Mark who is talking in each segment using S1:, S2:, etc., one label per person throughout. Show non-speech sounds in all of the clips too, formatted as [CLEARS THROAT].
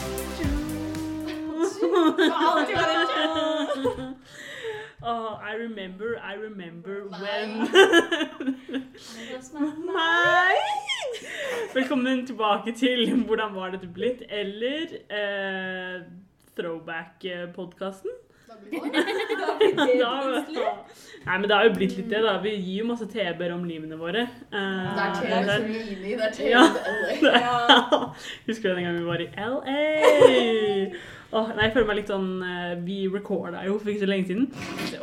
S1: [LAUGHS] remember, Oh, I remember
S2: Nei.
S1: when
S2: Nei.
S1: Nei! Velkommen tilbake til Hvordan var dette blitt? eller eh, Throwback-podkasten.
S2: Da blir det
S3: Da blir det plutselig.
S1: Nei, men det har jo blitt litt det, da. Vi gir jo masse TB-er om livene våre. Eh,
S2: Det er
S3: det
S2: Taylor
S3: er-
S1: [LAUGHS]
S2: som Mini, det er
S1: Ja.
S2: Taylor Ellie.
S3: Ja.
S1: Husker du den gangen vi var i LA? Åh, nei, jeg føler meg litt sånn eh, Vi recorda jo for ikke så lenge siden.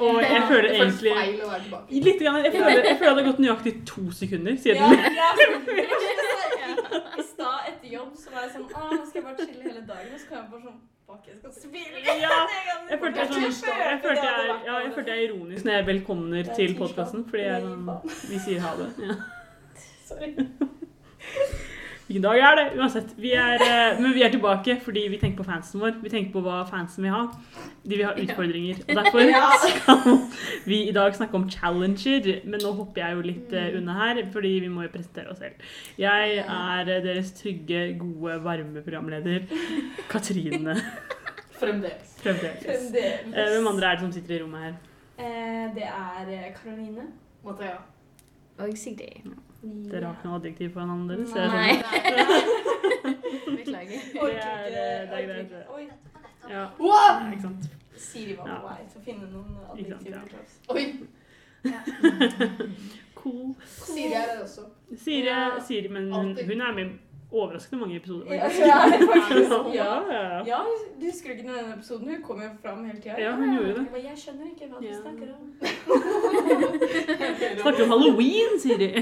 S1: Og jeg føler
S2: Det føles
S1: egentlig
S2: feil å være tilbake.
S1: Litt, grann, jeg, føler, jeg føler det har gått nøyaktig to sekunder
S3: Ja,
S1: siden.
S3: ja,
S1: [LAUGHS]
S3: I stad etter jobb så var jeg sånn Å, nå skal jeg bare chille hele dagen. Og så kan jeg bare sånn Fuck, jeg skal spille.
S1: [LAUGHS] Ja,
S3: jeg
S1: Jeg følte jeg, sånn, jeg, følte jeg, er- ja, jeg følte jeg er ironisk når jeg velkomner til podkasten, fordi jeg, er sånn, vi sier ha det. Ja.
S3: Sorry.
S1: Hvilken dag er det? Uansett. Vi er, eh, men vi er tilbake fordi vi tenker på fansen vår. Vi tenker på hva fansen vil ha. De vil ha utfordringer. Og derfor skal vi i dag snakke om challenger. Men nå hopper jeg jo litt eh, unna her, fordi vi må jo presentere oss selv. Jeg er eh, deres trygge, gode, varme programleder Katrine
S2: Fremdeles.
S1: fremdeles.
S3: Fremdeles.
S1: Eh, Hvem andre er det som sitter i rommet her?
S3: Eh, Det er eh, Karoline.
S2: Mathea.
S4: Og Sigrid.
S1: Dere
S3: [LAUGHS]
S1: har ikke noe adjektiv på hverandre? deres, ser jeg
S4: Nei. Beklager.
S1: Det
S3: Orker
S1: er,
S3: ikke-
S1: eh, det er
S3: orker
S1: greit,
S3: ikke.
S1: det.
S3: Oi,
S1: sånn. Ja, [LAUGHS]
S2: Wow!
S1: ikke sant?
S3: Siri var
S1: Ja.
S3: på vei til å finne noen
S1: Ikke sant, ja.
S3: adjektiver til oss.
S2: Oi,
S1: Cool.
S2: Siri er her også.
S1: Siri,
S3: Ja.
S1: Siri men hun,
S2: Alltid.
S1: hun er med i overraskende mange episoder.
S3: Ja,
S1: faktisk.
S3: hun er det faktisk.
S1: [LAUGHS] Ja,
S3: Ja.
S1: ja, ja.
S3: Ja, du husker ikke den ene episoden? Hun kom jo fram hele tida.
S1: Ja, hun gjorde det.
S3: Jeg, bare, jeg skjønner ikke hva du
S1: Ja.
S3: snakker om.
S1: Snakker om halloween, Siri!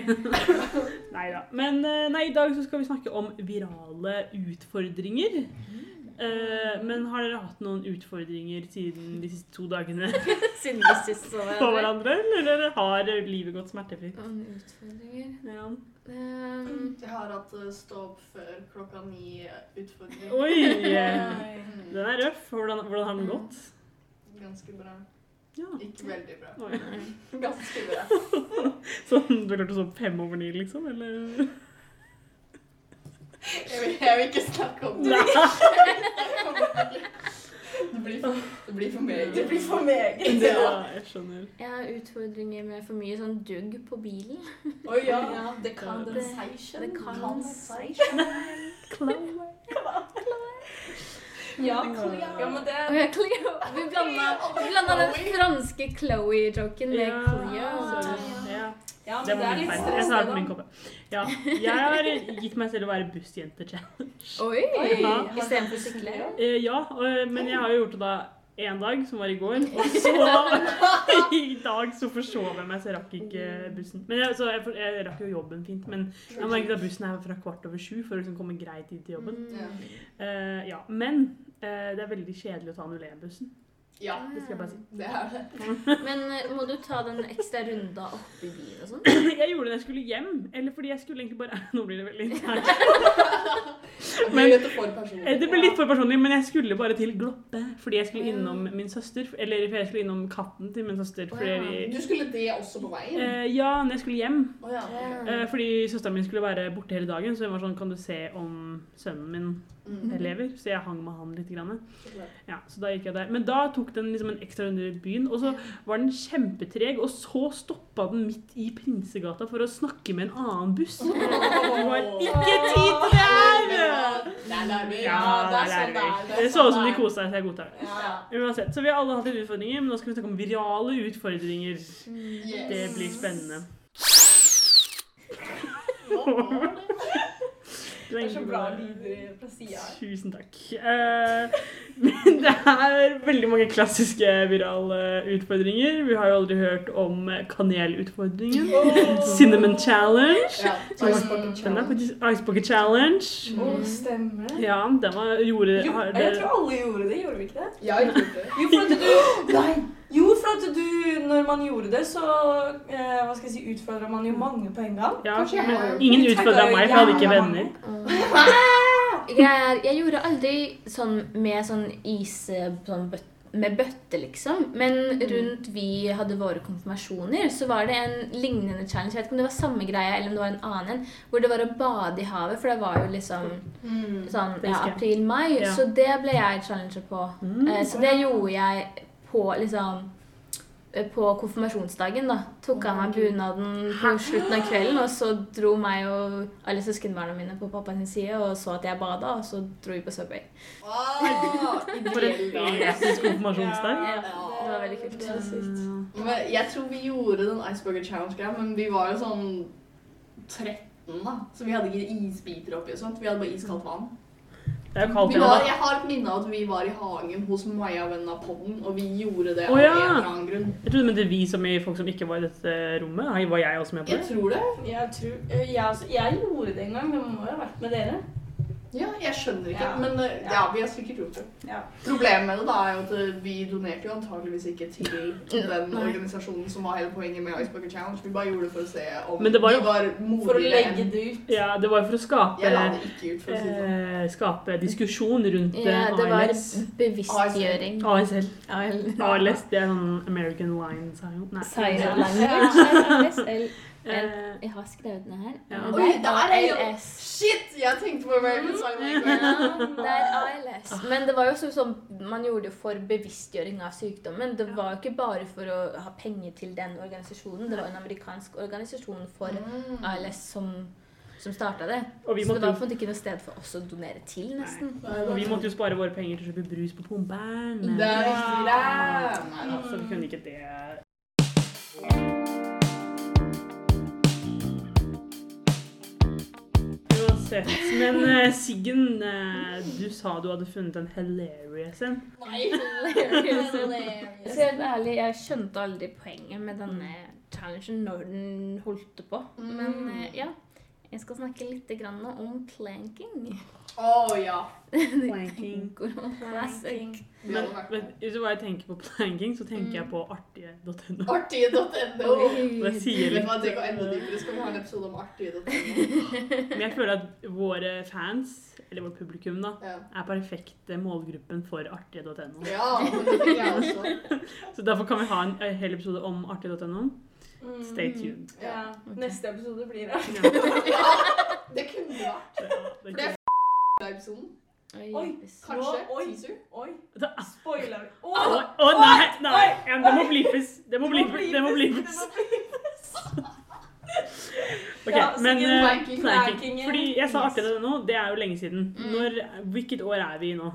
S1: [LAUGHS] nei da. Men eh, nei, i dag så skal vi snakke om virale utfordringer. Eh, men har dere hatt noen utfordringer siden de siste to dagene
S4: [LAUGHS]
S1: [LAUGHS]
S4: Siden vi sist så
S1: på
S4: hverandre.
S1: hverandre? Eller har livet gått smertefritt?
S4: Om utfordringer
S1: Ja.
S4: Ehm,
S2: Jeg har hatt eh, stå opp før klokka ni-utfordring.
S1: Oi! eh,
S3: Nei.
S1: Den er røff. Hvordan, hvordan har den gått?
S2: Mm. Ganske bra.
S1: Ja.
S2: Ikke veldig bra.
S1: Oi.
S2: Ganske bra.
S1: Sånn, du har klart å sove fem over ni, liksom? Eller?
S2: Jeg vil, jeg vil ikke snakke om det.
S1: Nei.
S2: Det blir for, det blir for meget.
S3: Det blir for meg. [LAUGHS]
S1: Det, ja, jeg skjønner.
S4: Jeg har utfordringer med for mye sånn dugg på bilen.
S2: Oi, ja.
S3: Ja, the condensation.
S4: The
S2: condensation.
S3: Ja,
S1: Chloe.
S3: ja, men det
S4: [LAUGHS] Og jeg Cleo. Vi blanda vi blanda den franske Chloé-joken med
S1: Ja,
S4: Cleo.
S1: sorry. Ja.
S3: ja, men
S1: Det
S3: Altså,
S1: var
S3: er
S1: min
S3: litt
S1: feil.
S3: stress,
S1: Jeg sa det på
S3: da.
S1: min koppe. Ja. Jeg har gitt meg selv å være bussjente-challenge.
S4: Oi!
S1: Ja.
S4: Istedenfor sykle.
S1: Eh, Ja, og- men jeg har jo gjort det da én dag, som var i går. Og så [LAUGHS] i dag så forsov jeg meg, så jeg rakk ikke bussen. Men jeg, så jeg, for- jeg rakk jo jobben fint, men jeg merket at bussen er fra kvart over sju for å liksom komme greit inn til jobben.
S2: Ja.
S1: Eh, ja, Men eh, det er veldig kjedelig å ta 01-bussen.
S2: Ja,
S1: Det skal jeg bare si.
S2: det er det.
S4: Men eh, må du ta den ekstra runda oppi bilen og sånn?
S1: [CLEARS THROAT] Jeg gjorde det da jeg skulle hjem, eller fordi jeg skulle egentlig bare [LAUGHS] Nå blir det veldig internt. Men-
S2: Men, det, for personlig.
S1: Eh, Det ble litt for personlig, men jeg skulle bare til Gloppe. Fordi jeg skulle innom min søster. Eller fordi jeg skulle innom katten til min søster. Fordi
S4: Wow.
S1: vi,
S2: Du skulle det også på veien?
S1: eh, ja, når jeg skulle hjem.
S2: Å ja. ok.
S1: Eh, fordi søsteren min skulle være borte hele dagen, så hun var sånn Kan du se om sønnen min
S2: Mm.
S1: lever? Så jeg hang med han litt. Grann.
S2: så klart.
S1: Ja, så da gikk jeg der. Men da tok den liksom en ekstra runde i byen, og så var den kjempetreg. Og så stoppa den midt i Prinsegata for å snakke med en annen buss. Det var ikke tid til det her!
S2: Det er larming.
S1: Ja,
S2: det er
S1: det
S2: sånn det er.
S1: er det så ut som de kosa seg, så jeg godtar det.
S2: Ja.
S1: Uansett, så vi har alle hatt litt utfordringer, men nå skal vi snakke om virale utfordringer.
S4: Mm.
S2: Yes.
S1: Det blir spennende.
S3: Det er så bra lyder fra sida her.
S1: Tusen takk. Eh, [LAUGHS] men det er veldig mange klassiske virale utfordringer. Vi har jo aldri hørt om kanelutfordringen. [LAUGHS] Cinnamon challenge.
S2: Ja, ice bucket
S1: Den er
S2: challenge.
S1: faktisk Ice Bucket challenge.
S3: Å, stemmer det?
S1: Ja, den var gjorde
S3: Jo,
S1: har
S3: jeg
S1: det-
S3: tror alle gjorde det, gjorde vi ikke det?
S2: Jeg har ikke gjort det.
S3: Jo, for at du Jo, for at du Når man gjorde det, så eh, Hva skal jeg si Utfordra man jo mange på en gang.
S1: ja,
S2: Kanskje jeg
S3: [LAUGHS]
S2: har
S1: men
S2: gjort
S1: ingen
S3: det.
S1: utfordra meg, for jeg hadde ikke venner.
S4: Jeg, er, jeg gjorde aldri sånn med sånn is sånn bøt, med bøtte, liksom. Men rundt vi hadde våre konfirmasjoner, så var det en lignende challenge. Jeg vet ikke om det var samme greia eller om det var en annen en, hvor det var å bade i havet. For det var jo liksom
S2: Mm.
S4: sånn
S1: Det
S4: ja,
S1: husker jeg.
S4: april-mai.
S1: Ja. Mm.
S2: Mm,
S4: Så det ble jeg challenger på. Eh, Så det gjorde jeg på liksom eh, på konfirmasjonsdagen, da. Tok av
S3: Å,
S4: meg
S3: Gud.
S4: bunaden på slutten av kvelden, og så dro meg og alle søskenbarna mine på pappas side og så at jeg bada, og så dro vi på Subway.
S2: Åh,
S1: For en
S2: ideell dag.
S1: episk konfirmasjonsdag.
S4: Ja, det var veldig kult.
S3: Det er sykt.
S1: Eh,
S2: Men jeg tror vi gjorde den Iceburger Challenge-greia, men vi var jo sånn 13, da. Så vi hadde ikke isbiter oppi og sånt. Vi hadde bare iskaldt vann.
S1: Det er jo kaldt
S2: Vi
S1: igjen,
S2: var,
S1: da.
S2: jeg har et minne av at vi var i hagen hos Maja, vennen av podden, og vi gjorde det
S1: Å, ja.
S2: av en eller annen grunn.
S1: Jeg trodde men det er vi som i folk som ikke var i dette rommet. Hei, Var jeg også med på
S2: Jeg
S1: det?
S2: tror det.
S3: Jeg, tror, øh, jeg, altså, jeg gjorde det en gang, men man må jo ha vært med dere.
S2: Ja, jeg skjønner ikke,
S3: Ja.
S2: men eh, ja, vi har sikkert gjort det.
S3: Ja.
S2: Problemet med det da er jo at eh, vi donerte jo antageligvis ikke til den
S4: Nei.
S2: organisasjonen som var hele poenget med Iceburger Challenge. Vi bare gjorde det for å se om
S1: Men det var jo-
S2: vi var
S3: For å
S2: modigere
S3: legge
S2: enn
S3: det ut.
S1: Ja, det var jo for å skape
S2: Jeg la det ikke ut, for å si det sånn.
S1: eh, Skape diskusjon rundt eh,
S4: Ja, det var
S1: ALS.
S4: bevisstgjøring.
S1: ASL.
S4: AL.
S1: ALS, det er sånn American Line Science. Nei.
S4: Science
S3: Ja.
S4: language.
S1: Eh,
S4: Jeg har skrevet ned her.
S1: Ja.
S4: Men
S2: Oi,
S4: det
S2: der
S4: er
S2: er jo-
S4: ALS.
S2: Shit! Jeg tenkte på American Sign Language.
S4: Ja, det er ALS. Men det var jo også sånn man gjorde det for bevisstgjøring av sykdommen. Det var jo ikke bare for å ha penger til den organisasjonen. Det var en amerikansk organisasjon for
S3: Mm.
S4: ALS som, som starta det.
S1: og, vi
S4: Så det
S1: måtte,
S4: var på en måte ikke noe sted for oss å donere til, nesten.
S1: jo- og vi måtte jo spare våre penger til å kjøpe brus på pumperen.
S3: Mm.
S2: Det er riktig. Det er. Nei,
S1: Ja,
S2: da.
S1: så vi kunne ikke det Uansett. Men eh, Siggen, eh, du sa du hadde funnet en hilarious en.
S3: Nei. [LAUGHS]
S4: Jeg skal være ærlig, jeg skjønte aldri poenget med denne challengen når den holdt på. Men
S3: Mm.
S4: eh, ja, jeg skal snakke litt grann om planking.
S2: Å ja.
S1: Planking.
S4: [LAUGHS] Planking.
S2: Vi
S1: Men
S2: hadde vært
S1: vet
S2: med.
S1: du hva jeg tenker på planking, så tenker jeg på artige.no.
S2: Artige.no.
S1: Det sier
S2: Vet du hva, det
S1: litt.
S2: går enda dypere. Skal vi ha en episode om artige.no?
S1: Men jeg føler at våre fans, eller vårt publikum, da,
S2: Ja.
S1: er perfekte målgruppen for artige.no.
S2: ja, men det tenker jeg også.
S1: Så derfor kan vi ha en eh, hel episode om artige.no. Stay tuned.
S3: Mm. Ja. Neste episode blir det.
S1: Ja, det,
S2: Ja, det kunne vært.
S1: det,
S2: For
S1: det,
S2: det er f***a episoden.
S4: Oi,
S3: Oi.
S2: Kanskje.
S3: Oi.
S2: Teaser.
S3: Oi,
S1: det er
S3: spoiler vi.
S1: Å
S3: Åh,
S1: å, nei! nei.
S3: Oi!
S1: Ja, men det må blippes. Ah, Det må blippes. Det må
S3: bleepes,
S1: blippes.
S3: det må bleepes.
S1: Ok,
S3: Ja, så
S1: men
S3: ingen
S1: eh,
S2: planking,
S1: planking.
S3: plankingen.
S1: Fordi jeg sa artig det nå, det er jo lenge siden.
S4: Mm.
S1: Når, hvilket år er vi i nå?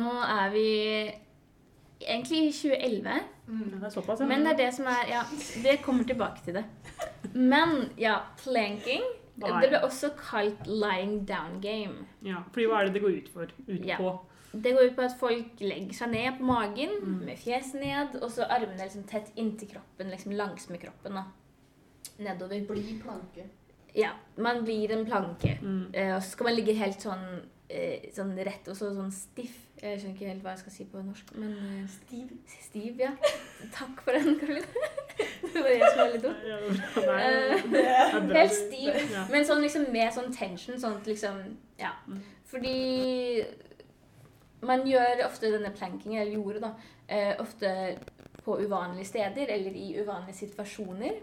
S4: Nå er vi egentlig i 2011,
S1: Ja,
S2: Mm.
S1: Det er såpass, ja.
S4: men det er det som er Ja, det kommer tilbake til det. Men ja, planking.
S1: Hva er
S4: Det ble også kalt lying down game.
S1: ja, fordi hva er det det går ut for? Ut
S4: Ja.
S1: på?
S4: Det går ut på at folk legger seg ned på magen
S1: Mm.
S4: med fjeset ned, og så armene liksom tett inntil kroppen, liksom langs med kroppen. da. Nedover.
S2: Bli planke.
S4: Ja, man blir en planke.
S1: Mm.
S4: Eh, og så skal man ligge helt sånn, eh, sånn rett og så sånn stiff. Jeg skjønner ikke helt hva jeg skal si på norsk, men eh,
S3: Stiv.
S4: Stiv, ja. Takk for den, Karoline. [LAUGHS] Det var jeg som var litt dum.
S1: Ja, det er-
S4: Eh,
S1: det er bra.
S4: Helt stiv.
S1: Ja.
S4: Men sånn liksom med sånn tension, sånn at liksom Ja.
S1: Mm.
S4: Fordi man gjør ofte denne plankingen, eller gjorde, da, eh, ofte på uvanlige steder eller i uvanlige situasjoner.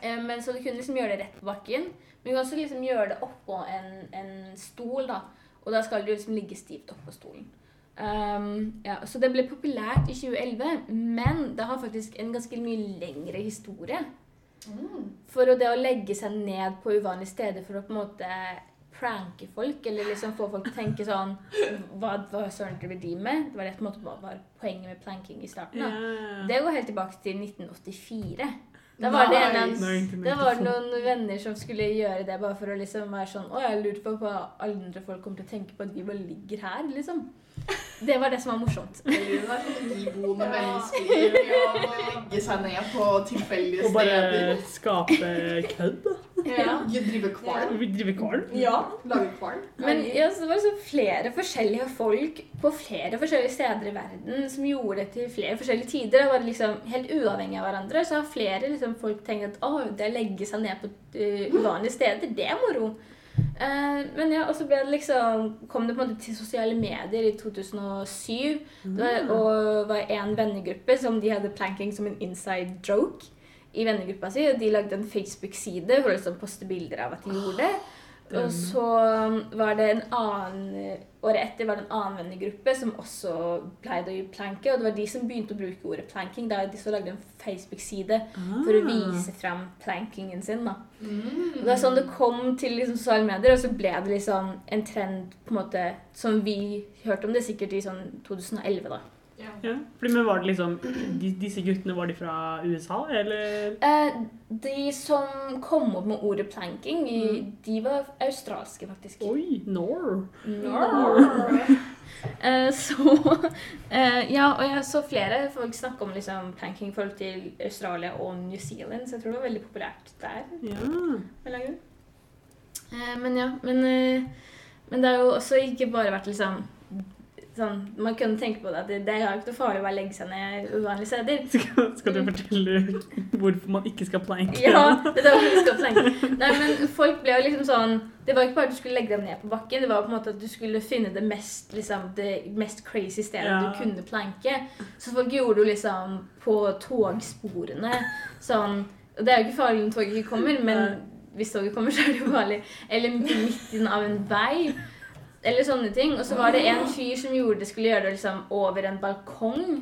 S4: Eh, men Så du kunne liksom gjøre det rett på bakken. Men du kan også liksom gjøre det oppå en, en stol, da. Og da skal du liksom ligge stivt oppå stolen. Um, ja, så det ble populært i 2011, men det har faktisk en ganske mye lengre historie.
S2: Mm.
S4: For det å legge seg ned på uvanlige steder for å på en måte pranke folk, eller liksom få folk til å tenke sånn Hva, hva søren driver de med? Det var det på en måte var, var poenget med planking i starten.
S1: Ja.
S4: Da. Det går helt tilbake til 1984. Da var det en
S2: Nice.
S1: Nå er internett
S4: da var det
S1: i
S4: noen venner som skulle gjøre det bare for å liksom være sånn Å, jeg lurer på hva andre folk kommer til å tenke på at vi bare ligger her, liksom. Det var det som var morsomt.
S2: Eller hun er sånn iboende
S3: Ja.
S2: mennesker og legge seg ned på tilfeldige
S1: Og bare skape kødd, da.
S2: steder. Ja, Drive kvalm.
S1: Vi driver kvalm.
S3: Ja.
S2: Lage kvalm.
S4: Men ja, så det var liksom flere forskjellige folk på flere forskjellige steder i verden som gjorde det til flere forskjellige tider. Det var liksom helt uavhengig av hverandre. Så har flere liksom, folk tenkt at å, det å legge seg ned på eh, uvanlige steder, det er moro. Eh, men ja, og så ble det liksom, kom det på en måte til sosiale medier i 2007. Det var, og var en vennegruppe som de hadde planking som en inside joke i vennegruppa si. Og de lagde en Facebook-side hvor de liksom postet bilder av at de gjorde det. Og så var det en annen Året etter var det en annen vennegruppe som også pleide å planke. Og det var de som begynte å bruke ordet planking. Da de så lagde en Facebook-side Ah. for
S1: Ah.
S4: å vise fram plankingen sin. da.
S2: Mm.
S4: Og det er sånn det kom til liksom, sosiale medier, og så ble det liksom en trend på en måte, som vi hørte om det sikkert i sånn 2011. da.
S2: Ja.
S1: Ja, fordi, men var det liksom de, Disse guttene, var de fra USA, eller?
S4: Eh, de som kom opp med ordet planking, i, de var australske, faktisk.
S1: Oi, nor.
S4: Mm.
S3: Arr.
S4: Eh, [LAUGHS] så eh, Ja, og jeg så flere folk snakke om liksom, planking i forhold til Australia og New Zealand, så jeg tror det var veldig populært der.
S1: Ja.
S4: av en eller annen grunn. Eh, men ja, men, eh, men det har jo også ikke bare vært liksom sånn, Man kunne tenke på det at det, det er jo ikke noe farlig å bare legge seg ned uvanlige steder.
S1: Skal, skal du fortelle hvorfor man ikke skal planke?
S4: Ja, det er jo ganske lenge. Nei, men folk ble jo liksom sånn Det var ikke bare at du skulle legge deg ned på bakken, det var på en måte at du skulle finne det mest, liksom, det mest crazy stedet
S1: Ja.
S4: du kunne planke. Så folk gjorde jo liksom på togsporene sånn Og det er jo ikke farlig om toget ikke kommer, men
S1: Nei.
S4: hvis toget kommer, så er det jo farlig. Eller midten av en vei. Eller sånne ting. Og så var det en fyr som gjorde det, skulle gjøre det liksom over en balkong.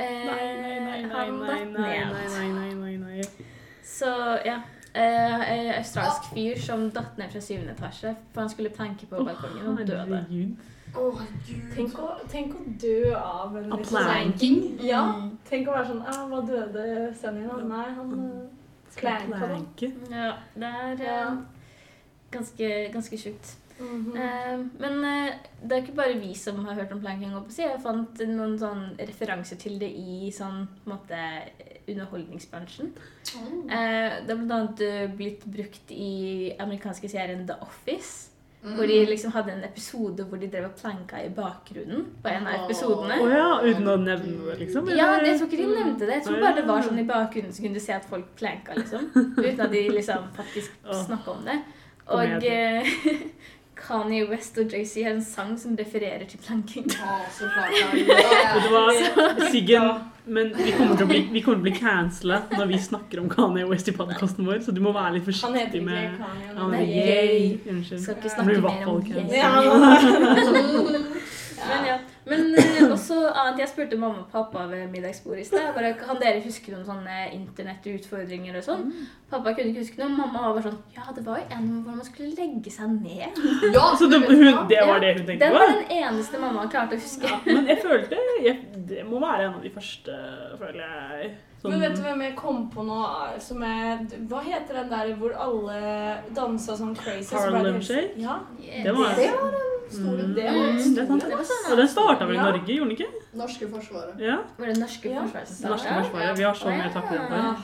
S4: Eh,
S1: Nei, nei, nei, nei,
S4: han
S1: nei, nei,
S4: datt ned.
S1: nei, nei, nei, nei, nei.
S4: Så ja. Eh, eh, australsk fyr som datt ned fra syvende etasje for han skulle planke på balkongen og døde.
S1: Herregud.
S2: Åh, gud.
S3: Tenk å, tenk å dø av en
S1: Av
S3: litt
S1: planking.
S3: sånn-
S2: Planking?
S3: Ja.
S4: Mm.
S3: Tenk å være sånn ah, Hva døde sønnen din av? Nei, han eh,
S1: Skal
S3: Planke.
S1: planke.
S4: Ja, det er eh, ganske, ganske sjukt.
S1: Mm.
S3: mhm.
S4: Eh, men eh, det er ikke bare vi som har hørt om planking. holdt på å si. Jeg fant noen sånn referanser til det i sånn, på en måte, underholdningsbransjen.
S3: sånn. Mm.
S4: Eh, det har bl.a. blitt brukt i amerikanske serien The Office.
S2: Mm.
S4: Hvor de liksom hadde en episode hvor de drev og planka i bakgrunnen på en av episodene.
S1: Å ja, uten å nevne det, liksom?
S4: Ja,
S1: eller?
S4: jeg tror ikke de nevnte det. Jeg tror bare det var sånn i bakgrunnen så kunne du se at folk planka, liksom. Uten at de liksom faktisk
S1: Åh.
S4: snakka om det.
S1: Kom
S4: Og eh, [LAUGHS] Kanye West og JC har en sang som refererer til planking.
S2: Åh, så klart. [LAUGHS] Ja,
S1: Vet du
S2: ja.
S1: hva, Siggen, men vi kommer til å bli, vi kommer til å bli cancela når vi snakker om Kanye West i podkasten vår, så du må være litt
S3: Han heter
S1: forsiktig
S3: ikke
S1: med
S3: Kanye.
S1: Han
S4: Nei,
S1: er
S4: yay.
S1: gay. Unnskyld.
S4: Skal ikke
S1: Blir
S4: snakke
S1: i hvert
S4: mer
S1: fall
S4: om Jesus.
S1: cancelled.
S4: Men ja. Men eh, også annet jeg spurte mamma og pappa ved middagsbordet i sted. Bare, kan dere huske noen sånne internettutfordringer og sånn?
S1: Mm.
S4: Pappa kunne ikke huske noe. Mamma var bare sånn Ja, det var jo en hvor man skulle legge seg ned.
S2: Ja,
S1: Så det,
S2: du vet
S1: hun,
S2: hva?
S1: det var det hun tenkte
S4: Den
S1: på?
S4: var den eneste mamma klarte å huske.
S1: Ja, men jeg følte jeg, Det må være en av de første, føler jeg. sånn
S3: [LAUGHS]
S1: som-
S3: Men vet du hvem jeg kom på nå? er- Som er, hva heter den der hvor alle dansa sånn crazy? så ble det
S1: Harlem
S3: helt-
S1: Shake?
S3: Ja.
S1: Det var-
S2: Det var en stor
S1: Mm.
S2: Det var
S4: Mm,
S2: en
S1: det er
S2: stor
S1: sant.
S2: en.
S1: Og den starta vel
S3: sånn.
S1: i
S3: Ja.
S1: Norge, gjorde den ikke?
S2: Norske forsvaret.
S1: Ja,
S4: Var det norske
S3: Ja,
S1: det norske
S4: forsvarsdager?
S1: forsvaret. Vi har så mye å takke for.
S4: Ja.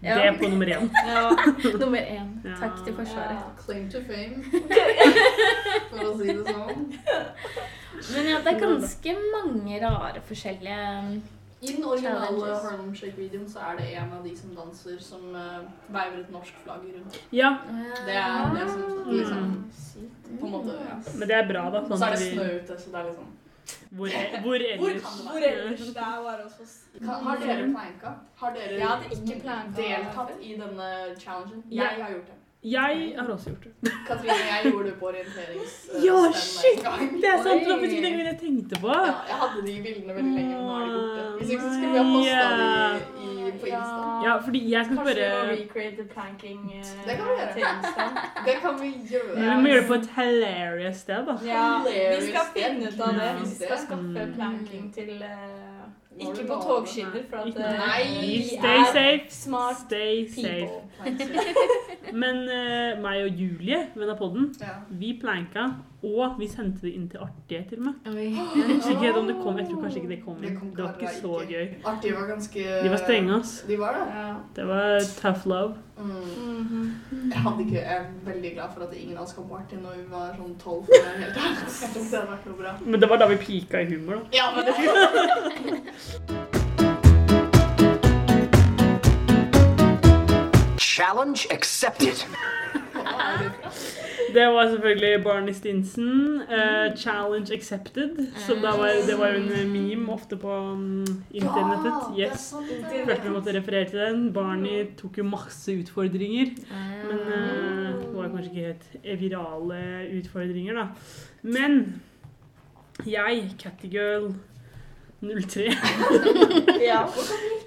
S1: Det er på nummer én.
S3: ja.
S4: Nummer én.
S1: Ja.
S4: Takk til Forsvaret.
S3: Ja.
S2: Claim to fame, for å si det sånn.
S4: Men ja, det er ganske mange rare forskjellige um,
S2: I den originale
S4: Challenges.
S2: Harlem Shake-videoen så er det en av de som danser, som eh, veiver et norsk flagg rundt.
S1: Ja,
S2: Det er det
S3: sånn-
S2: som liksom
S1: Mm.
S2: På en måte, ja.
S1: men det er bra, da.
S2: Og
S1: Sånn
S2: så er
S1: at
S2: det
S1: vi,
S2: snø ute, så det er liksom
S1: hvor, hvor
S3: Hvor,
S1: ellers?
S3: hvor ellers? Det er bare hos oss.
S2: Kan, har dere planka? Har dere
S3: Jeg hadde ikke planka.
S2: deltatt i denne challengen?
S1: Ja.
S2: Jeg har gjort det.
S1: Jeg har også gjort det.
S2: Katrine, jeg gjorde det på orienterings... eh,
S1: Ja,
S2: stand
S1: shit!
S2: en gang.
S1: Det er sant! Det var
S4: Oi.
S1: faktisk ikke det jeg tenkte på.
S2: Ja, jeg hadde de bildene veldig lenge, men nå har de borte.
S1: Ah,
S2: Hvis ikke så skulle vi ha posta de i, på Insta.
S1: Ja, fordi jeg skal
S3: Kanskje vi må
S1: spørre
S3: recreate planking eh,
S2: Det kan vi gjøre.
S3: til Insta.
S2: Det kan vi gjøre.
S1: Vi må gjøre det på et hilarious sted, da.
S3: Ja, vi skal finne ut av det. Vi
S2: Hilarious.
S3: skal skaffe
S1: Mm.
S3: planking til eh,
S2: Må du
S3: Ikke på
S2: love
S3: togskinner, for at eh,
S2: Nei,
S3: vi
S1: Stay
S3: er
S1: safe.
S3: smart
S1: Stay safe. [LAUGHS]
S3: people.
S1: Men eh, meg og Julie, venn av podden,
S2: Ja.
S1: vi planka, og vi sendte det inn til Artige, til og med.
S4: Oi.
S1: Jeg husker ikke helt om det kom. Jeg tror kanskje ikke det kom
S2: Det
S1: inn.
S2: kom
S1: Det var ikke
S2: kanskje
S1: så
S2: ikke.
S1: gøy.
S2: Artig var ganske
S1: De var strenge, ass.
S2: De var det.
S3: Ja.
S1: Det var tough love.
S2: Mm.
S3: Mhm.
S2: Jeg, hadde ikke, jeg er veldig glad for at ingen av oss kom på artig når vi var sånn tolv. for å være helt ærlig. Jeg tror ikke det hadde vært noe bra.
S1: Men det var da vi pika i humor, da.
S2: Ja, men det
S5: Challenge accepted.
S1: Det var selvfølgelig Barney Stinson. eh,
S2: Mm.
S1: challenge accepted. Så da var, det var jo en eh, meme ofte på mm, internettet.
S2: Ja, Mm. det er
S1: Yes.
S2: sant, det. Mm.
S1: Følte vi måtte referere til den. Barney tok jo masse utfordringer. Men eh, det var var kanskje ikke helt virale utfordringer, da. Men jeg, Cattigirl 03
S3: [LAUGHS] Ja.